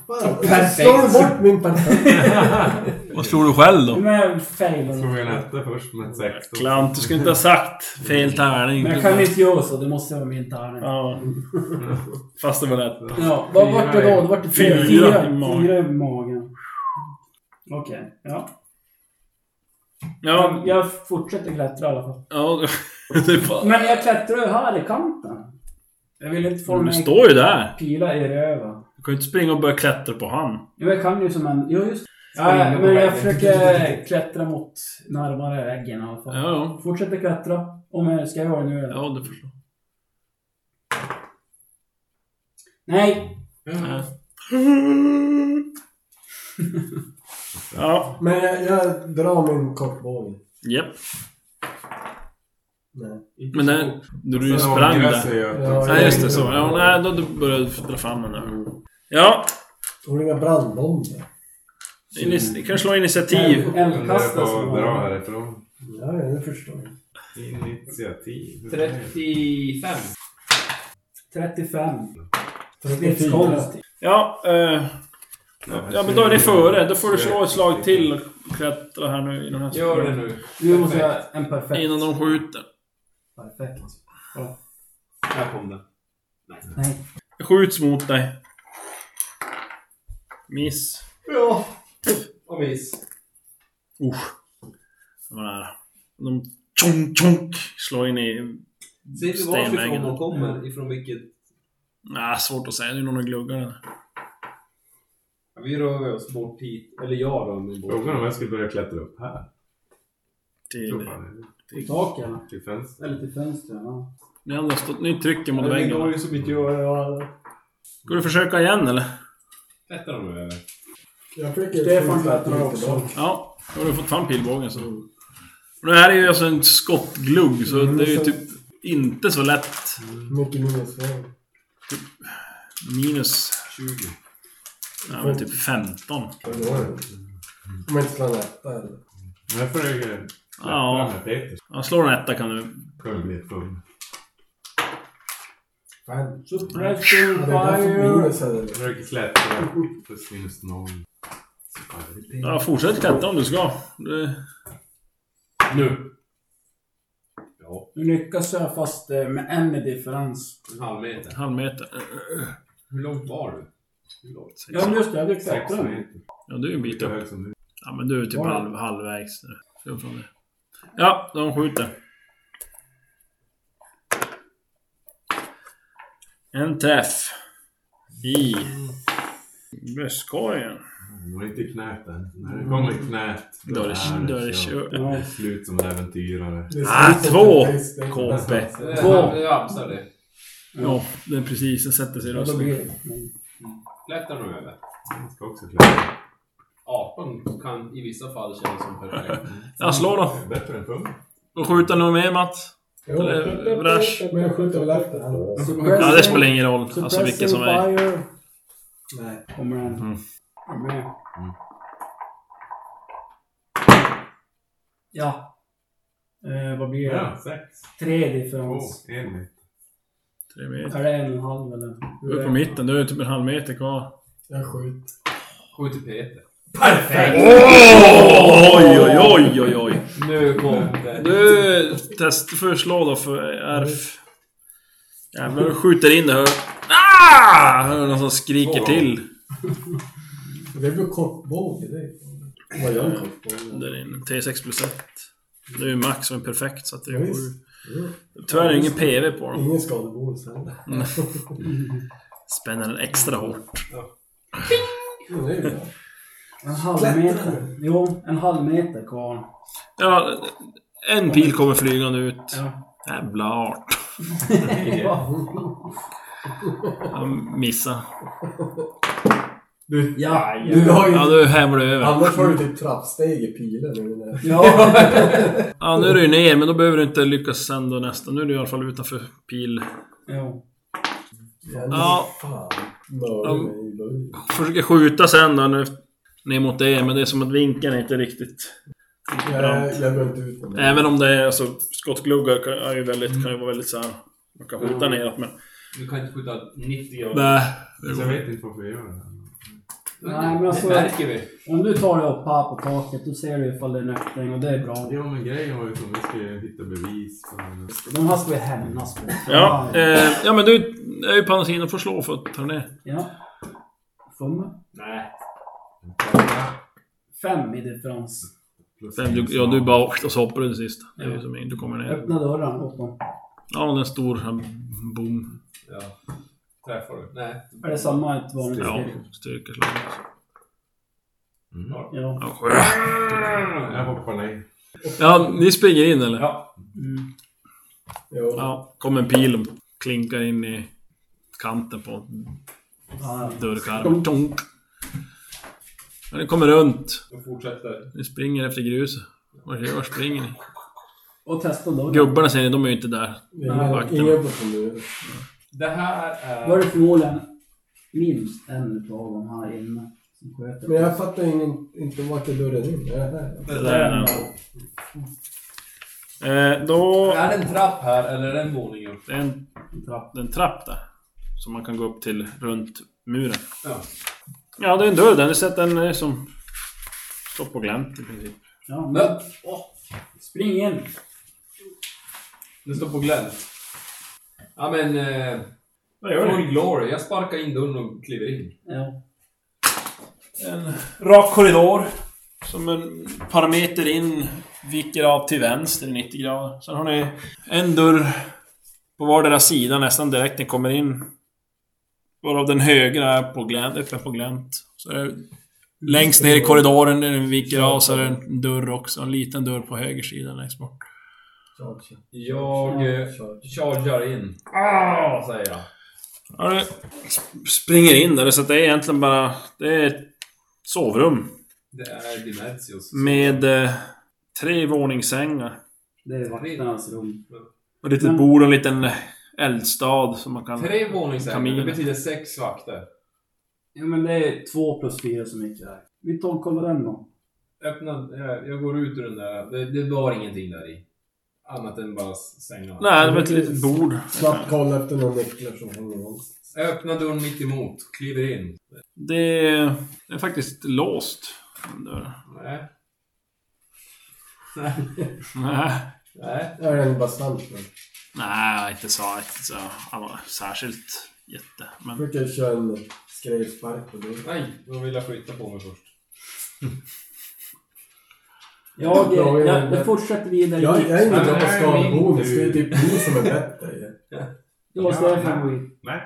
S2: Fan,
S5: Perfekt.
S2: Slår du bort min perfekt?
S3: Vad slår du själv
S5: Men jag failar.
S4: Slog en etta först med 16.
S3: Klant, du skulle inte ha sagt fel tärning.
S5: Men jag kan inte göra så. Det måste vara min tärning. Ja.
S3: Ja. Fast det var rätt.
S5: Vad vart det då? Det vart det fyra.
S3: Fyra
S5: Fyra,
S3: i magen.
S5: fyra i magen. Okej, ja.
S3: Ja,
S5: Jag, jag fortsätter klättra i alla fall.
S3: ja. Det är fan.
S5: Men jag klättrar ju här i kanten. Jag vill inte få
S3: Men Du
S5: mig
S3: står ju där.
S5: pilar i röven.
S3: Du kan ju inte springa och börja klättra på han.
S5: Jo, jag kan ju som en... Jo, just
S6: Springa
S5: ja,
S6: på
S5: men jag
S6: väggen.
S5: försöker klättra mot närmare väggen i alla fall.
S3: Ja, ja.
S5: Fortsätter klättra. Om jag ska göra det nu eller?
S3: Ja, du förstår.
S5: Nej!
S3: Ja. Ja,
S2: Men jag, jag drar min kortbåge.
S3: japp.
S2: Nej.
S3: Men när, när du sprang där.
S2: Ja,
S3: Nej, just det. Så. Ja, nej, då du började du dra fram den där. Ja,
S2: Tog du inga brandbomber?
S3: ini-
S6: Mm.
S3: ni kan slå initiativ.
S5: Eld-
S4: Men det är
S5: Eldkastare
S4: bara att
S5: som
S4: dra
S5: var-
S4: härifrån.
S2: Ja, jag förstår. jag.
S4: Initiativ.
S6: 35.
S5: 35.
S2: Fyra.
S5: Stridskonst.
S3: Ja, eh, ja, men då är ni före. Då får du slå ett slag till och klättra här nu innan, här,
S6: Gör det nu.
S5: Nu måste jag en perfekt.
S3: innan de skjuter.
S5: Perfekt.
S6: Här kom den.
S5: Nej.
S3: Det skjuts mot dig. Miss.
S6: Ja. Och miss.
S3: Usch. Det var nära. De tjonk, tjonk slår in i...
S6: Ser du varifrån
S3: Stenvägen.
S6: de kommer? Ifrån vilket?
S3: Nej, svårt att säga. Det är någon som gluggar den.
S6: Ja, Vi rör oss bort hit. Eller jag rör mig bort.
S4: Frågan om jag skulle börja klättra upp här. Så
S3: Till,
S4: fan är det.
S5: Till tak eller?
S4: Till fönstret.
S5: Eller till fönstret, ja.
S3: ni andra stå, ni trycker mot
S6: Men det går
S3: väggen.
S6: ju som inte jag gör.
S3: Ska du försöka igen eller?
S4: Klättrar de över?
S2: Jag försöker
S5: Stefan
S2: skjuta
S5: klättrar
S2: lite
S5: också.
S2: bak.
S3: Ja, då har du fått fram pilbågen så. Och det här är ju alltså en skottglugg så det är ju typ inte så lätt.
S2: Mycket minuspoäng.
S3: Minus... 20. Ja men typ 15.
S2: Om jag inte slår en etta eller?
S4: Jag försöker släppa
S3: Ja.
S4: den här Peter.
S3: Ja, slår en etta kan du...
S4: Kommer bli ett full.
S2: Fan.
S5: Suppressor
S2: Det är därför
S5: fire.
S2: minus hade det.
S4: Jag försöker släppa den. Plus minus noll. Så är det Peter.
S3: Ja, fortsätt klättra om du ska. Det-
S6: Nu.
S5: Du lyckas jag fast eh, med en med differens.
S6: En halv meter.
S3: En halv meter.
S6: Hur långt var du? Hur långt?
S5: Ja, men just det. Jag lyckas
S4: Sex
S5: klättra nu.
S4: meter.
S3: Ja, du är en bit
S4: Lika
S3: upp.
S4: hög som du.
S3: Ja, men du är typ
S5: Var det?
S3: halv, halvvägs. nu. Ska från det. Ja, de skjuter. En träff. I bröstkorgen.
S4: Det var inte i knät än. När det kommer i knät.
S3: Då är det- då är det kört.
S4: kört. är slut som en äventyrare.
S2: Det är
S3: Ah,
S2: slutet
S3: två!
S2: på festen.
S3: KP.
S6: Två! Jag absar det.
S3: Ja, den precis. Den sätter sig i
S5: Ja, då
S3: rösten.
S5: blir det.
S6: Klättra nu över.
S4: Jag ska också klättra.
S6: Apan kan i vissa fall kännas som perfekt.
S3: Ja, slå då.
S4: Bättre än full.
S3: Då skjuter nog mer Mats.
S2: Jo,
S3: Eller Brash.
S2: Men jag skjuter väl efter honom.
S3: Ja, det spelar ingen roll. Alltså vilka som är.
S5: fire.
S2: Nej.
S5: Kommer en.
S3: Mm.
S5: Är med. Ja. Eh, vad blir det?
S4: Ja, sex.
S5: Tre
S4: Två.
S5: differens.
S4: En meter.
S3: Tre meter.
S5: Är det en och en halv eller?
S3: Du är på mitten. Du är typ en halv meter kvar.
S2: Jag skjuter.
S6: Skjut till Peter.
S3: Oj, oj, oj, oj, oj.
S6: Nu kom det.
S3: Du, test, får slå då för RF. Jävlar, du skjuter in det hör... Ah! Hör du någon som skriker till
S2: Det blir kortbåge det. Vad gör en kortbåge?
S3: där inne. T6 plus 1. Det är ju max som är perfekt så att det
S2: Ja,
S3: går
S2: visst.
S3: ju... Tyvärr är det ingen PV på dem.
S2: Ingen skadebonus heller.
S3: Spänner den extra hårt.
S2: Jo, det är bra.
S5: En halv meter. Jo, en halv meter kvar.
S3: Ja, en pil kommer flygande ut.
S5: Ja.
S3: Jävla art. Han missar.
S2: Du,
S5: Ja,
S2: du har ju...
S3: Ja, nu hämmer du över.
S2: Annars har du typ trappsteg i pilen. nu när-
S5: ja.
S3: Ja, nu är du ju ner, men då behöver du inte lyckas sen då nästa. Nu är du i alla fall utanför pil.
S5: Jo.
S2: Fan,
S3: Ja.
S2: Fan. Mördade mig i början.
S3: Försöker skjuta sen då, nu, ner mot det, men det är som att vinkeln är inte riktigt...
S2: Jag, jag går inte ut med det.
S3: Även om det är alltså, skottgluggar kan, är ju väldigt, kan ju vara väldigt såhär... Man kan skjuta neråt men...
S6: Du kan inte skjuta 90 grader.
S3: Nej.
S4: Så jag vet inte varför jag gör det här.
S5: Nej, men alltså-
S6: Det märker vi.
S5: Om du tar dig upp här på taket, då ser du ifall det är en öppning och det är bra.
S4: Ja men grejen var ju som vi ska ju hitta bevis på det.
S5: De här ska vi hämnas på.
S3: Ja, eh, ja men du är ju på andra sidan, får slå för att ta ner.
S5: ja. Fem.
S6: Nej.
S5: Fem i differens.
S4: Plus
S3: Sen du, ja, du bara åkte och så hoppar du den sista. Det är ju som, du kommer ner.
S5: Öppna dörren åt dem.
S3: Ja, och en stor sån här boom.
S6: Ja. Träffar du? Nej.
S5: Är det samma ett vanligt
S3: Ja,
S5: steg?
S3: styrkeslag.
S5: Ja.
S3: Ja, skö-
S4: Jag hoppar ner.
S3: Ja, ni springer in eller? Ja.
S5: Mm.
S2: Jo.
S3: ja kom en pil och klinkar in i kanten på
S5: Ja,
S3: dörrkarmen. Tonk. Ja, ni kommer runt.
S6: Då fortsätter.
S3: Ni springer efter gruset. Var, var springer ni?
S5: och testa dörren.
S3: Gubbarna ser ni, de är ju inte där.
S2: Det är
S3: Vakterna.
S2: Ingen ingen på kommunen.
S6: Det här är...
S5: Då är det förmodligen minst en utav de här inne som sköter.
S2: Men jag fattar ingen, inte vart är dörren in. Är det här?
S3: Det där är den. Eh, då...
S6: Är det en trapp här eller är det en våning upp?
S3: Det är en trapp, det är en trapp där. Som man kan gå upp till runt muren.
S6: Ja.
S3: Ja, det är en dörr där. Ni ser att den är som... Står på glänt i princip.
S5: Ja, men
S6: Men, åh,
S5: spring in!
S6: det står på glänt. Ja men... Eh,
S3: Vad
S6: full glory. Jag sparkar in dörren och kliver in.
S5: Ja.
S3: En rak korridor. Som en par meter in viker av till vänster i 90 grader. Sen har ni en dörr på vardera sida nästan direkt ni kommer in. Varav den högra är på glänt, öppen på glänt. Så är det, längst ner i korridoren när den viker av så är det en dörr också. En liten dörr på höger sida längst bort.
S2: Charge.
S6: Jag eh,
S2: Charge.
S6: chargar in. Ah, säger jag.
S3: Ja, det sp- springer in där så att det är egentligen bara... Det är ett sovrum.
S6: Det är Dimertius.
S3: Med eh, tre våningssängar.
S5: Det är vakternas rum.
S3: Och ett litet bord och en liten eldstad som man kan...
S6: Tre våningssängar.
S3: Kamin.
S6: Det betyder sex vakter.
S5: Ja, men det är två plus fyra som gick där. Vi tolkar den då.
S6: öppnar, eh, jag, jag går ut ur den där. Det, det var ingenting där i. Annat än bara sängarna.
S3: Nej, det var ett litet bord.
S2: Snabbt kolla efter några nycklar som hänger någonstans.
S6: Jag öppnar dörren mitt emot, kliver in.
S3: Det är, det är faktiskt låst. den dörren.
S6: Nej,
S3: Nej.
S6: nej.
S2: Där är den bastant. Jag
S3: Nej, inte så, inte så alltså, särskilt jätte. Men
S2: brukar köra en skrevspark på dörren.
S6: Nej, då vill jag flytta på mig först.
S5: Jag,
S2: Ja,
S5: jag,
S2: ja,
S5: jag,
S2: ja.
S5: fortsätter vidare.
S2: Jag, jag är
S6: Nej,
S2: inte bra på
S6: men-
S2: skadebonus. Det är typ ni som är bättre. ju.
S5: Det var så jag går in.
S4: Nej.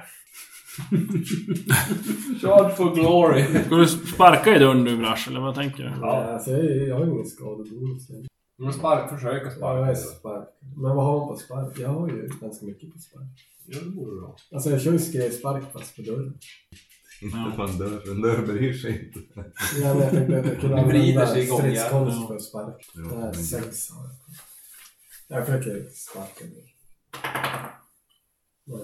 S6: Charge for glory.
S3: Ska du sparka i dörren du Brash, eller vad tänker du?
S6: Ja.
S2: Alltså, jag, är- jag har ingen skadebonus. än.
S6: Men spark, försök att
S2: Ja, jag
S6: sparka.
S2: är spark. Men vad har man på spark? Jag har ju ganska mycket på spark.
S6: Ja, det borde du ha.
S2: Alltså jag kör ju skrevspark fast på dörren.
S7: Inte fan dör, en dörr bryr sig inte.
S2: Ja, men jag tänkte att jag kunde
S6: Det vrider
S2: använda
S6: sig igång, ja.
S2: stridskonst för spark.
S7: Ja,
S2: Det här är
S7: men-
S2: sex har jag. Jag försöker sparka ner. Nej,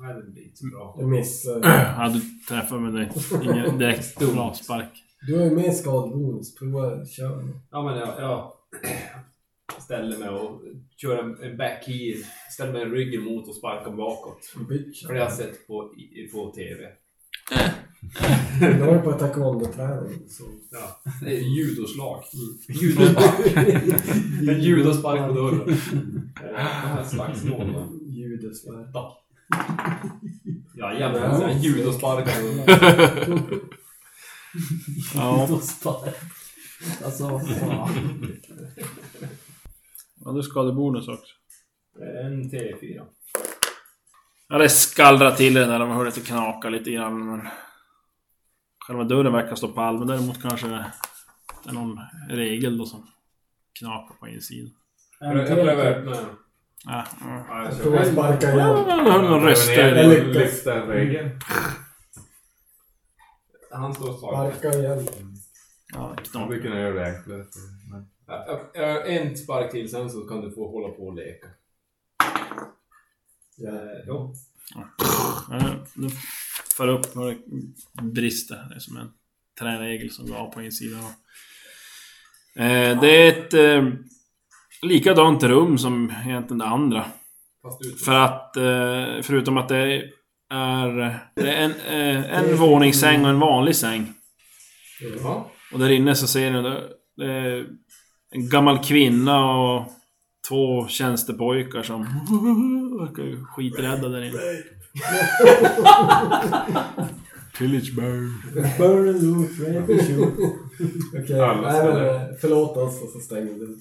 S6: Nej, det blir inte så bra.
S2: jag missar.
S3: Ja, du träffar med direkt. Ingen direkt bra spark.
S2: Du har ju mer skadebonus. Prova kör nu.
S6: Ja, men jag, jag ställer mig och kör en, en backheel. Ställer mig ryggen mot och sparkar bakåt.
S2: Bitch.
S6: För det har jag sett på, i- i- på TV.
S2: Du har ju på taekwondo-träning. så-
S6: Ja, det är judoslag. Judospark. En judospark på dörren. Eh, Det här är slagsmål. va?
S2: Ljudet spark.
S6: Jajamän, en judospark på dörren.
S3: Ja,
S5: Då står jag. Alltså, fan.
S3: ja du skadebonus också.
S6: En T4.
S3: Ja, det skallrar till i den där. Man hör lite knaka lite grann. Men själva dörren verkar stå pall. Men däremot kanske det är någon regel då som knakar på insidan.
S6: Jag prövar öppna den.
S3: Ja, ja.
S6: Ja, jag
S2: Jag
S6: kör.
S2: provar sparka igen.
S3: Jag hör någon röst
S2: Jag
S3: där.
S2: lyckas.
S4: Lyfta en regel.
S6: Han står svag.
S2: Sparka igen.
S3: Ja,
S4: Jag
S3: knak.
S4: brukar kunna göra det enklare. så, men-
S6: Ja, ja, En spark till sen så kan du få hålla på och leka.
S2: Ja.
S6: Eh, Jo.
S3: Ja, du för upp några brister. Det är som en träregel som du har på insidan. Eh, Det är ett eh, likadant rum som egentligen det andra.
S6: Fast ut.
S3: För att, eh, förutom att det är, det är en, eh, en våningssäng och en vanlig säng.
S6: Ja.
S3: Och där inne så ser ni det, det är en gammal kvinna och två tjänstepojkar som verkar ju skiträdda där inne. Pillage bird.
S2: Burn and loot, rape and shoot. Okej,
S4: Alla
S2: nej, men,
S4: ställer.
S2: eh, förlåt oss och så stänger vi.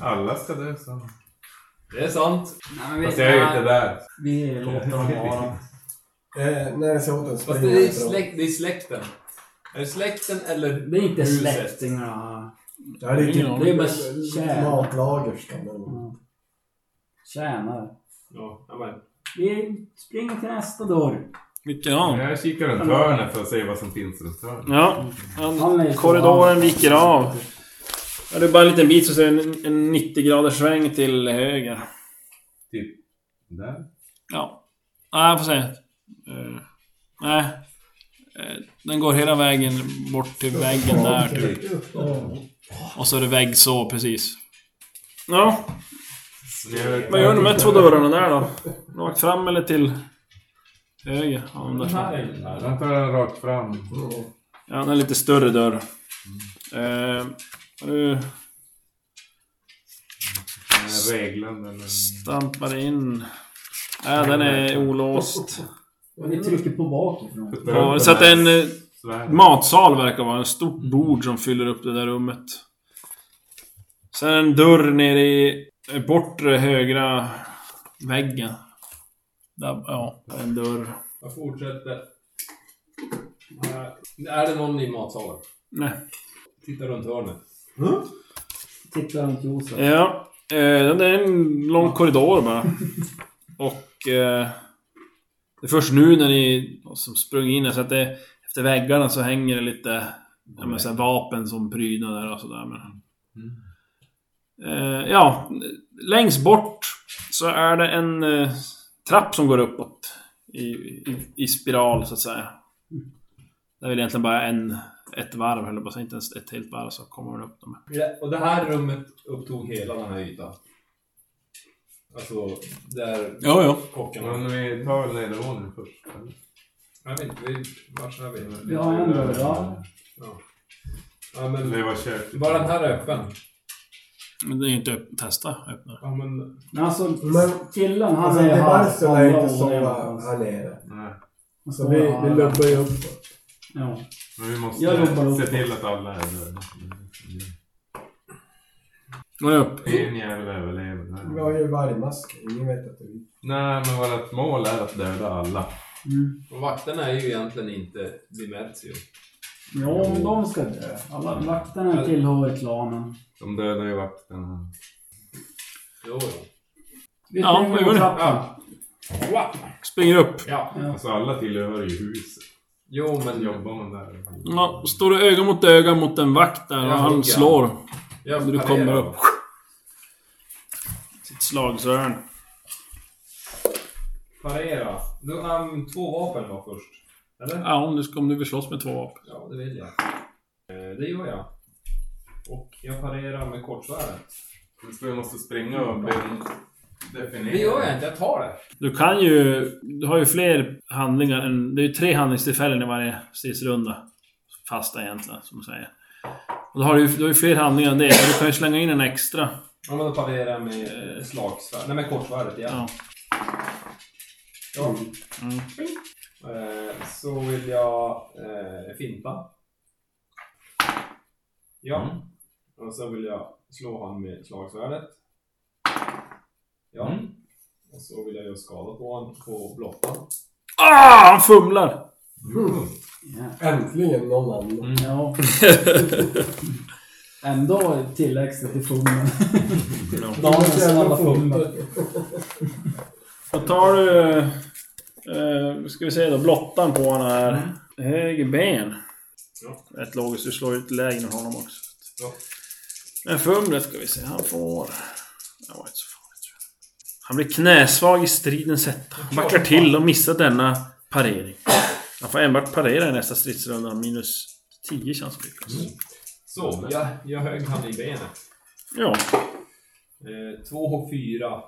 S4: Alla ska dö så.
S6: Det är sant.
S5: Nej, men vi,
S4: Fast jag är ju inte där.
S5: vi låter dem vara.
S2: Eh, när jag ser åt den
S6: Fast
S2: springer
S6: det är,
S2: jag ifrån.
S6: släkt, det är släkten. Är det släkten eller
S5: Det är inte
S6: huset?
S5: släktingarna.
S2: Ja, det är
S3: Ingen
S2: typ
S3: aning.
S5: Det är bara tjän-
S2: matlagerskan eller något.
S5: Ja. Tjänare.
S6: Ja, ja, men.
S5: Vi springer till nästa dörr.
S3: Vilken av?
S4: Jag kikar runt hörnet för att se vad som finns runt hörnet.
S3: Ja.
S5: Han är
S3: Han,
S5: så-
S3: korridoren viker av. Ja, det är bara en liten bit så ser du en, en 90 graders sväng till höger.
S4: Typ där.
S3: Ja. Nej, jag får se. Eh, nej. Eh, den går hela vägen bort till väggen där typ. Och så är det vägg så, precis. Ja, vad gör du med två dörrarna där då? Rakt fram eller till höger? Ja, de där.
S6: Den här
S3: fram.
S6: är den här.
S4: Jag tar den rakt fram.
S3: Ja, den är lite större dörr. Eh, du
S4: Med regeln eller...
S3: stampar in. Nej, den är olåst.
S5: Och vi trycker på bakifrån.
S3: Ja, så att en eh,
S4: Svärd.
S3: matsal verkar vara. En stort bord som fyller upp det där rummet. Sen en dörr nere i eh, bortre högra väggen. Där, ja, där är en dörr.
S6: Jag fortsätter. Eh, Är det någon i matsalen?
S3: Nej.
S6: Titta runt hörnet.
S5: Tittar runt Josef.
S3: Ja, eh, det är en lång korridor bara. Och eh, det är först nu när ni som sprung in här, så att det efter väggarna så hänger det lite ja, men, så här, vapen som prydnader och sådär. Men, Mm. eh, ja, längst bort så är det en eh, trapp som går uppåt i, i, i spiral så att säga. Det är väl egentligen bara en, ett varv, eller bara inte ens ett helt varv så kommer man upp dem.
S4: Ja, och det här rummet upptog hela den här ytan. Alltså, där
S3: Ja, ja.
S4: kockarna...
S7: Men vi tar nedervåningen först. eller?
S4: Jag vet inte, vi... Vart är vi?
S5: Ja, en dörr, ja.
S4: Ja. Ja, men...
S7: Det var köket.
S4: Var den här öppen?
S3: Men det är ju inte öpp- testa öppna.
S4: Ja, men...
S5: Men alltså,
S2: Men-
S5: killen han
S2: Alltså,
S5: är
S2: det varför
S5: halvt
S2: är inte
S5: andra
S2: så
S5: året.
S2: här nere.
S7: Nej.
S2: Så vi, vi lubbar ju upp.
S5: Ja.
S7: Men vi måste
S5: Jag jobbar
S7: se
S5: upp.
S7: till att alla är döda.
S3: Går ni upp?
S7: En jävel överlever.
S2: Vi
S7: Nej.
S2: har ju vargmask. Ingen vet att det är vi.
S7: Nej, men vårt mål är att döda alla.
S5: Mm.
S4: Och vakterna är ju egentligen inte Dimertio.
S5: Jo, men de ska dö. Alla vakterna tillhör klanen.
S7: De dödar ju vakterna.
S4: Jo, jo.
S5: Vi
S3: Ja, vi
S5: springer på
S3: går nu.
S5: trappan.
S4: Wow!
S3: Springer upp.
S4: Ja.
S7: Alltså alla tillhör ju huset.
S4: Jo, men jag,
S7: Jobbar man där?
S3: Ja, står du öga mot öga mot en vakt där och
S4: Ja,
S3: han
S4: ja.
S3: slår
S4: jag
S3: Du
S4: parerar.
S3: kommer upp. sitt slagsörn.
S4: Parera. Du um, två vapen då först. Eller?
S3: Ja, om du, ska, om du vill slåss med två vapen.
S4: Ja, det vill jag. Eh, det gör jag. Och jag parerar med kortsvärdet.
S7: Så vi måste springa och bli definierade.
S4: Det gör jag inte, jag tar det.
S3: Du kan ju... Du har ju fler handlingar än... Det är ju tre handlingstillfällen i varje stridsrunda. Fasta egentligen, som man säger. Och då har du, ju- du har ju fler handlingar än det, så du kan ju slänga in en extra.
S4: Ja, men då parerar jag med eh, slagsvärd. Nej, med kortsvärdet igen.
S3: Ja.
S4: Ja.
S3: Mm.
S4: Eh, så vill jag eh, finta. Ja. Och så vill jag slå han med slagsvärdet. Ja. Och så vill jag göra skada på honom på blottan.
S3: Ah! Han fumlar!
S2: Äntligen någon annan.
S5: Ja. Ändå ett tillägg till fumlen. Dagens alla fumlar.
S3: Vad tar du... Eh, ska vi se då, blottan på honom här. Höger ben. Rätt logiskt, du slår ut lägen än honom också.
S4: Ja.
S3: Men fumlet ska vi se, han får... Det var inte så farligt tror jag. Han blir knäsvag i stridens hetta. Han Backar till och missar denna parering. Han får enbart parera i nästa stridsrunda, minus 10 chans att lyckas.
S4: Så, jag, jag högg han i benet.
S3: Ja,
S4: Eh, två och fyra.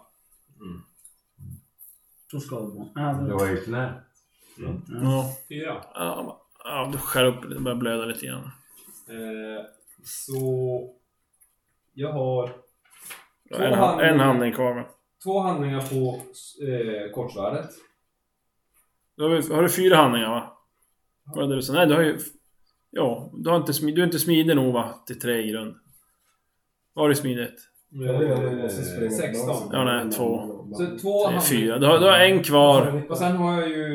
S5: Så ska det vara.
S7: Det var ju knä.
S3: ja.
S4: Fyra.
S3: ja. ja du skär upp det börjar blöda lite grann.
S4: Eh, så... Jag har
S3: En, hand- en handling kvar men.
S4: två handlingar på eh, kortsvärdet.
S3: Då har, vi, har du fyra handlingar va? Var det det du sa? Nej, du har ju... Ja, du har inte, smi- du är inte smidig nog va? Till tre i grund. Var det smidigt?
S4: Eh, 16.
S3: Ja, nej, två.
S4: Så två
S3: Det är
S4: handlingar.
S3: fyra. Du har, du har en kvar.
S4: Och sen har jag ju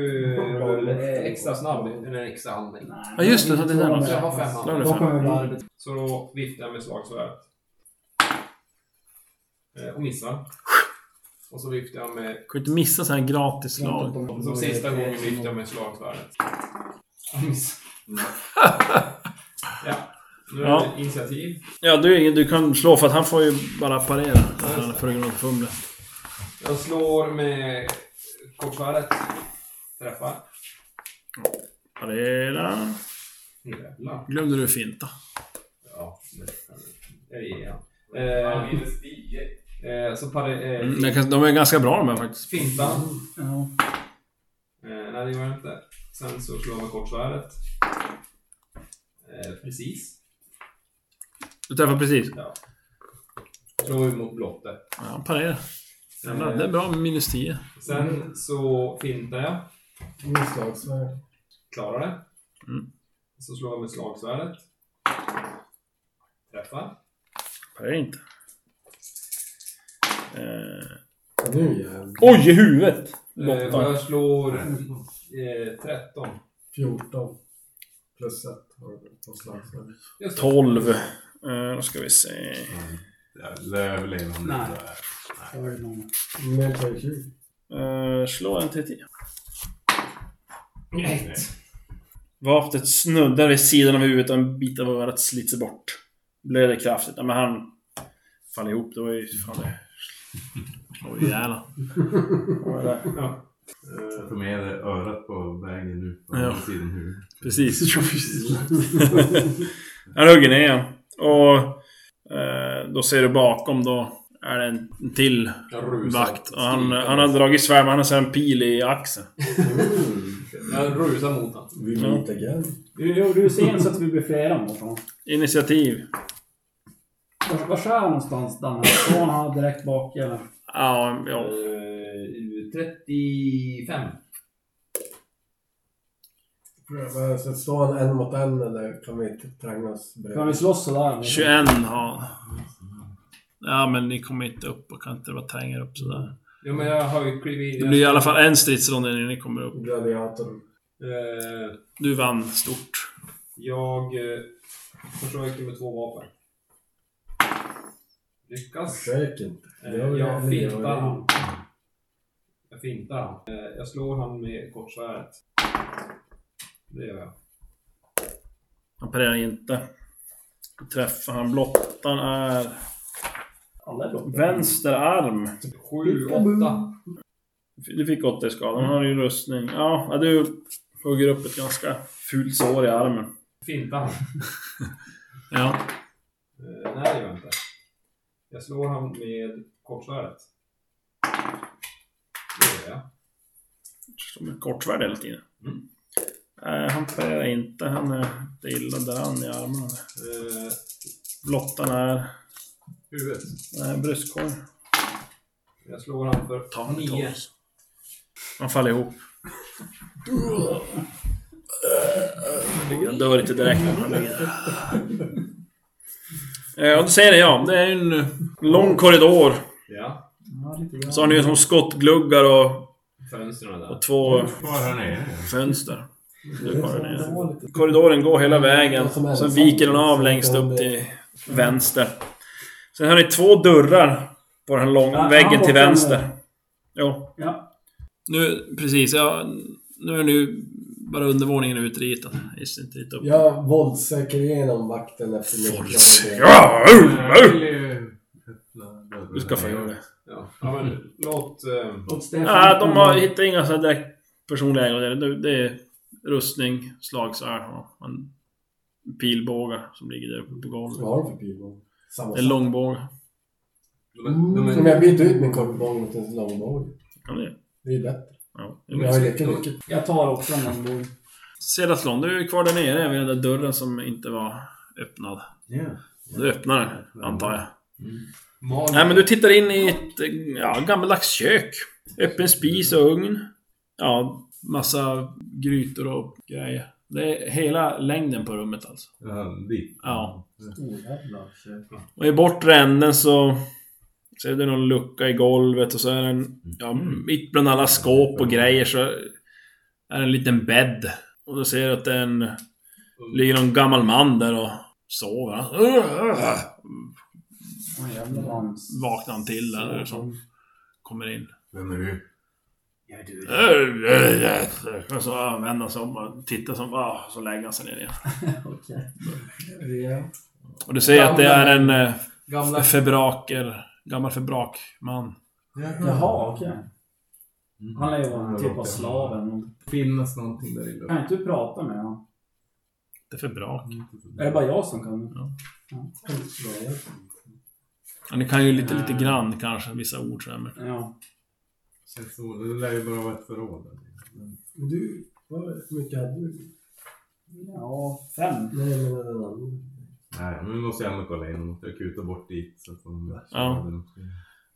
S4: eh, extra snabb, eller extra handling.
S3: Ja just det, så det är den
S4: Så jag
S3: också.
S4: har fem
S3: Då har
S4: handlingar.
S3: du
S5: Då
S3: fem.
S5: kommer vi larvet.
S4: Så då viftar jag med slagsvärdet. Eh, och missar. Och så viftar jag med
S3: Du kan ju inte missa sådana här gratis slag.
S4: Som sista gången lyfte jag med slagsvärdet.
S3: Mm.
S4: ja, nu är
S3: Ja.
S4: det initiativ.
S3: Ja, du, är ingen- du kan slå för att han får ju bara parera. Han får grund för fumlet.
S4: Jag slår med kortsvärdet. Träffar.
S3: Parera.
S4: Jävlar.
S3: Glömde du finta?
S4: Ja, det är han. Eh, eh, så pare... Eh,
S3: Mm, jag kan, de är ganska bra de här faktiskt.
S4: fintan.
S5: Ja.
S4: Eh, nej, det gör jag inte. Sen så slår jag med kortsvärdet. Eh, precis.
S3: Du träffar precis.
S4: Ja. Slår vi mot blottet.
S3: Ja, han parerar. Jävlar, det är bra med minus 10. Mm.
S4: Sen så fintar jag.
S2: Inslagsvärd.
S4: Klarar det.
S3: Mm.
S4: Så slår jag med slagsvärdet. Träffar.
S3: Parerar inte. Eh,
S2: Nu jävlar.
S3: Oj, i huvudet!
S4: Eh, och jag slår
S3: Mm.
S4: eh, 13.
S2: 14. Plus 1 har du på slagsvärd.
S4: Just det.
S3: 12. Eh, Då ska vi se.
S7: Jävla överlevande.
S5: Nej.
S7: där.
S5: Så var det någon.
S2: Men det är kul.
S3: Eh, slå en T10. Vapnet snuddar vid sidan av huvudet och en bit av örat slits bort. Blöder kraftigt. Ja, men han faller ihop. Det var ju... Fan det. Slår ju ihjäl han. Det var det där.
S4: Ja.
S2: Eh,
S7: Få med dig örat på vägen nu. På
S3: Ja.
S7: andra sidan huvudet.
S3: Precis. Han hugger ner igen. Och eh, då ser du bakom då är det en en till
S6: Jag rusar.
S3: vakt. Och han, han har dragit svärd men han har så här en pil i axeln.
S6: Jag rusar mot honom.
S2: Vill du inte igen?
S5: Du, jo, du ser så att vi blir flera mot honom.
S3: Initiativ.
S5: Var, var skär han någonstans, Danne? Står han direkt bak eller?
S3: Ja, ja.
S6: Eh, 35.
S2: Men Så står han en mot en eller kan vi inte trängas
S5: Kan vi
S2: bredvid?
S5: slåss sådär? eller?
S3: 21 har Ja men ni kommer inte upp och kan inte bara tränga er upp sådär.
S6: Jo men jag har ju klivit in.
S3: Det blir i alla fall en stridsrond innan ni kommer upp.
S2: Gladiator.
S6: Eh,
S3: Du vann stort.
S6: jag eh, försöker med två vapen. Lyckas.
S2: Försök inte.
S6: Eh,
S2: Gör det
S6: jag
S2: eller gör det
S6: fintar
S2: inte.
S6: han. Jag fintar han. Eh, jag slår han med kortsvärdet. Det gör jag.
S3: Han parerar inte. Träffar han blottan är...
S5: Alla är blockade.
S3: Vänster arm.
S6: Sju, åtta.
S3: Du fick 80 i skada. Han har ju rustning. Ja, ja, du hugger upp ett ganska fult sår i armen.
S6: Fintar han.
S3: Ja.
S6: Eh, nej, det gör jag inte. Jag slår han med kortsvärdet. Det gör jag.
S3: Som är kortsvärd hela tiden.
S6: Mm.
S3: Nej, han parerar inte. Han är det är illa däran i armarna.
S6: Eh,
S3: Blottan är...
S6: huvudet.
S3: Nej, bröstkorg.
S6: Jag slår han för
S3: Ta honom, ta
S6: nio.
S3: honom. Han faller ihop. Han dör inte direkt. men han ligger där. Eh, Och du ser det ja, det är en lång korridor.
S6: Ja,
S5: Ja, lite grann.
S3: Så har ni ju som skottgluggar och,
S6: fönstren där.
S3: och två
S7: Kvar här nere.
S3: fönster. Nu går den ner.
S2: Det var lite-
S3: Korridoren går hela vägen, sen viker den av längst upp till vänster. Sen har ni två dörrar på den här långa
S5: Ja,
S3: väggen
S5: han
S3: till
S5: borta
S3: vänster. Jo.
S5: Ja.
S3: Nu, precis. Ja, nu är nu bara undervåningen utritad. Just inte riktigt upp.
S2: Jag våldsöker igenom vakten efter mycket
S3: Vålds-
S2: arbete.
S3: Ja,
S7: Jag
S3: uh, uh.
S7: vill ju öppna dörren
S3: Du ska få
S7: här.
S3: göra det.
S6: Ja, ja men låt... Eh,
S5: Åt Stefan.
S3: Nej, de har hittat inga sådana direkt personliga ägodelar. Det- Det är rustning, slagsvärd och en pilbågar som ligger där uppe på golvet.
S2: Vad har de för pilbåge? Samma
S3: Det är
S2: sak.
S3: en långbåge.
S6: de,
S2: Mm.
S6: de,
S2: Om
S6: de,
S2: jag byter ut min korvbåge mot en långbåge.
S3: Ja, det är-
S2: Det är ju bättre.
S3: ja, det är
S2: Jag har ju lika mycket.
S5: Jag tar också en långbåge.
S3: Sedaslon, du är kvar där nere vid den där dörren som inte var öppnad.
S7: Ja.
S3: Du öppnar den, antar jag.
S6: magiker.
S3: Nej, men du tittar in i ett eh, ja, gammaldags kök. Öppen spis och ugn. Ja, massa grytor och grejer. Det är hela längden på rummet alltså.
S7: Ja, dit.
S3: Ja.
S7: Oh,
S2: Storjävlar.
S3: Och i bortre änden så ser du någon lucka i golvet och så är det en... Ja,
S7: Mm.
S3: mitt bland alla skåp och grejer så är det en liten bädd. Och du ser att det är en... Ligger någon gammal man där och sover. Han-
S5: Oj, jävlar vad han-
S3: Vaknar han till där eller som kommer in.
S7: Vem är du?
S3: Och så vänder han sig om och tittar som ah, så lägger han sig ner igen.
S5: Okej.
S3: Och du ser att det är en eh,
S6: Gamla...
S3: febraker, gammal febrakman.
S5: Jaha, okej. Han är ju
S7: Mm.
S5: en typ av slav eller någonting.
S7: Finnas någonting där i
S5: Kan inte du prata med honom?
S3: Det är febrak.
S5: Är det bara jag som kan?
S3: Ja, ni kan ju lite, lite grann kanske, vissa ord så här, men...
S5: Ja.
S7: Känns som, det lär ju bara vara ett förråd.
S2: Men Du, vad hur mycket hade du?
S5: Ja, fem.
S2: Nej, men en annan.
S7: Nej, men vi måste ju ändå kolla igenom. Jag kutar bort dit så att de...
S3: Ja.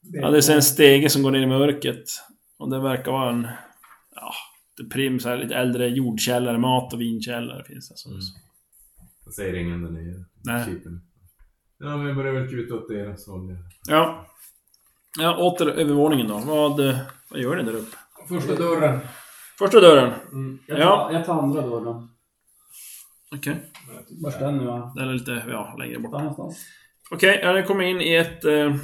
S3: Ja, det är en stege som går ner i mörkret. Och det verkar vara en... Ja, det är prim, så här, lite äldre jordkällare, mat och vinkällare finns det. Alltså.
S7: Mm. Jag säger ingen där nere.
S3: Nej.
S7: Kipen. Ja, men jag börjar väl kuta åt deras håll. ja.
S3: Ja. Ja, åter övervåningen då. Vad, eh, vad gör ni där uppe?
S6: Första dörren. Mm.
S3: Första dörren.
S5: Jag tar,
S3: Ja.
S5: jag tar andra dörren.
S3: Okej.
S5: Vart är den nu? va?
S3: Den är lite, ja, längre
S5: Där
S3: bort.
S5: någonstans.
S3: Okej, ja, ni kommer in i ett... eh,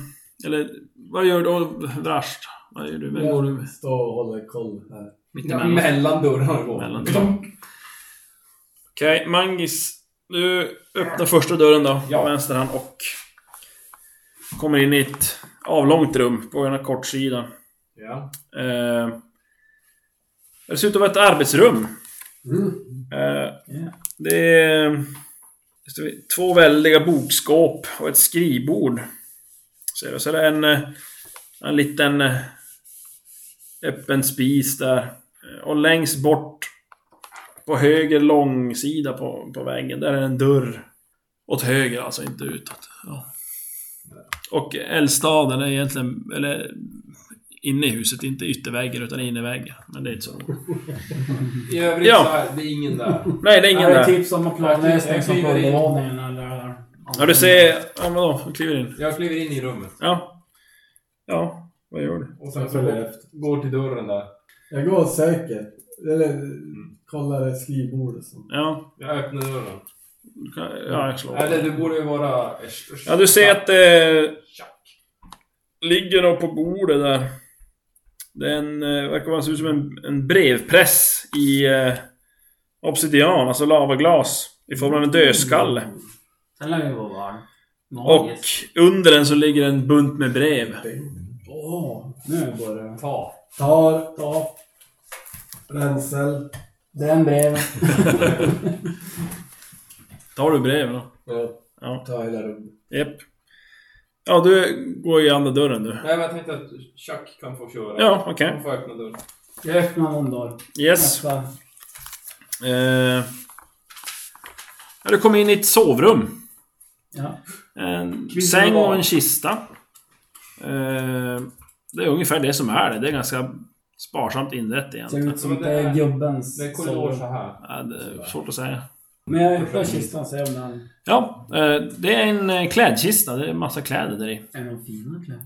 S3: Eller, vad gör du? Vrast? Vad gör du? Vem går du
S2: Jag står och håller koll här.
S3: mitt
S6: Ja,
S3: emellan?
S6: mellan dörrarna går.
S3: Mellan dörrarna. Okej, Mangis. Du öppnar första dörren då,
S6: Ja.
S3: på vänster hand och... Kommer in i ett avlångt rum på ena kortsidan.
S6: Ja.
S3: Eh, Det ser ut att vara ett arbetsrum.
S6: Mm.
S3: Eh, Det är det står två väldiga bokskåp och ett skrivbord. Ser du? Så är det en, eh, en liten eh, öppen spis där. Eh, Och längst bort på höger långsida på, på väggen, där är en dörr. Åt höger alltså, inte utåt. Ja. Och eldstaden är egentligen, eller inne i huset, inte ytterväggen utan inneväggen. Men det är inte så roligt.
S6: I övrigt
S3: Ja.
S6: så här, det är ingen där.
S3: Nej, det är ingen
S5: Är det
S3: där.
S5: tips om att planlösning som på
S6: Jag kliver in.
S5: undervåningen eller...
S3: Ja, du ser... Ja, vadå? Jag kliver in.
S6: Jag kliver in i rummet
S3: Ja. Ja, vad gör du?
S6: och sen så
S2: följer
S6: går, går till dörren där.
S2: Jag går säkert. Eller kollar skrivbordet. och sånt.
S3: Ja.
S6: Jag öppnar dörren.
S3: du kan- Ja, jag slår.
S6: Eller det borde ju vara...
S3: Ja, du ser att det
S6: Tjack.
S3: ligger då på bordet där. Den eh, verkar vara, se ut som en, en brevpress i eh, obsidian, alltså lavaglas. I form av en dödskalle.
S9: Den lär ju vara varm.
S3: Och under den så ligger en bunt med brev.
S5: Åh, nu börjar det.
S6: Ta.
S2: Tar. Ta. Rensel.
S5: Den breven.
S3: Tar du breven då?
S2: Ja.
S3: Ja.
S2: Tar hela rummet.
S3: Japp. Ja, du går ju andra dörren du.
S6: Nej, men jag tänkte att Chuck kan få köra.
S3: Ja, okej.
S6: Han får öppna dörren.
S5: Jag öppnar någon dörr.
S3: Yes.
S5: Nästa.
S3: Eh, ja, du kommer in i ett sovrum.
S5: Ja.
S3: En säng och en kista. Eh, det är ungefär det som är det. Det är ganska sparsamt inrätt
S5: Ser
S3: egentligen.
S5: ut som
S6: Men det
S5: det är
S6: är-
S5: gubbens
S6: Det är korridor
S5: sovrum.
S6: så här.
S3: Ja, det är svårt att säga.
S5: Men jag öppnar kistan och ser om den
S3: Ja, eh, det är en eh, klädkista. Det är en massa kläder där i.
S5: är någon fina kläder.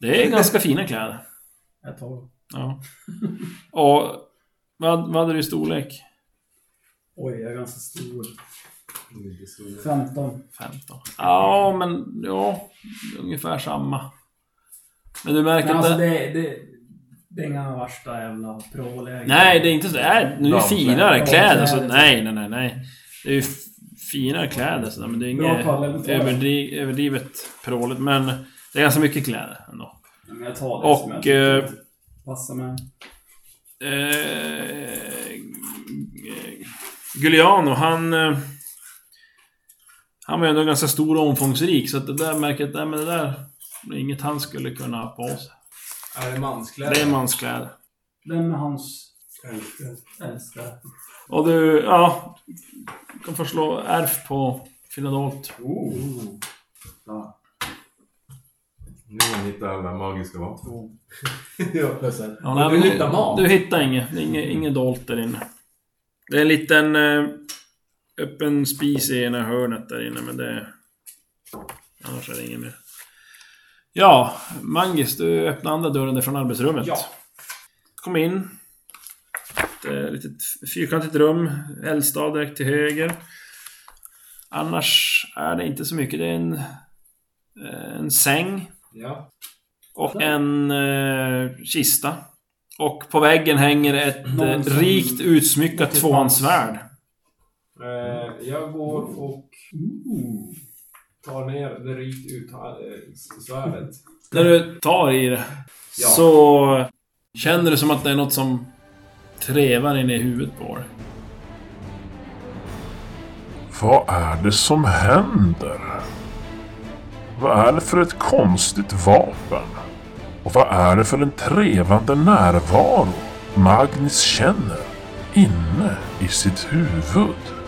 S3: Det är ganska fina kläder.
S5: Jag tar dem.
S3: Ja. Och vad, vad hade du i storlek?
S5: Oj, jag är ganska stor. 15.
S3: 15. Ja, men ja. Ungefär samma. Men du märker
S5: Men
S3: inte...
S5: alltså det, det, det är inga värsta jävla prålägen.
S3: Nej, det är inte så. Nej, nu är det finare kläder. Så, nej, nej, nej, nej. Det är ju f- finare kläder. Så, men det är inget
S5: Bra tal, eller?
S3: överdri- överdrivet pråligt. Men det är ganska mycket kläder ändå.
S5: Men jag tar det som
S3: Och...
S5: jag
S3: Eh,
S5: passar med.
S3: eh, Giuliano, han... Eh, han var ju ändå ganska stor och omfångsrik. Så att det där märker jag att nej, men det där... Det är inget han skulle kunna ha på sig.
S6: Är det manskläder?
S3: Det är manskläder.
S5: Vem är hans älskare?
S3: Och du, ja... Kan få slå ärf på Finadolt.
S7: Nu har han hittat alla magiska vapen.
S3: Ja, nej,
S6: du
S3: men
S6: hittar mat.
S3: Du hittar inget. Det är inget, inget dolt där inne. Det är en liten eh, öppen spis i ena hörnet där inne, men det... Annars är det inget mer. Ja, Mangis, du öppnar andra dörren där från arbetsrummet.
S6: Ja.
S3: Kom in. Ett eh, litet fyrkantigt rum. Eldstad direkt till höger. Annars är det inte så mycket. Det är en, eh, en säng.
S6: Ja.
S3: Och en eh, kista. Och på väggen hänger ett eh,
S5: Någon som-
S3: rikt utsmyckat tvåhandsvärd.
S6: Eh, jag går och tar ner det rikt ut eh, svärdet.
S3: När du tar i det
S6: Ja.
S3: så känner du som att det är något som trevar inne i huvudet på dig.
S1: Vad är det som händer? Vad är det för ett konstigt vapen? Och vad är det för en trevande närvaro Magnus känner inne i sitt huvud?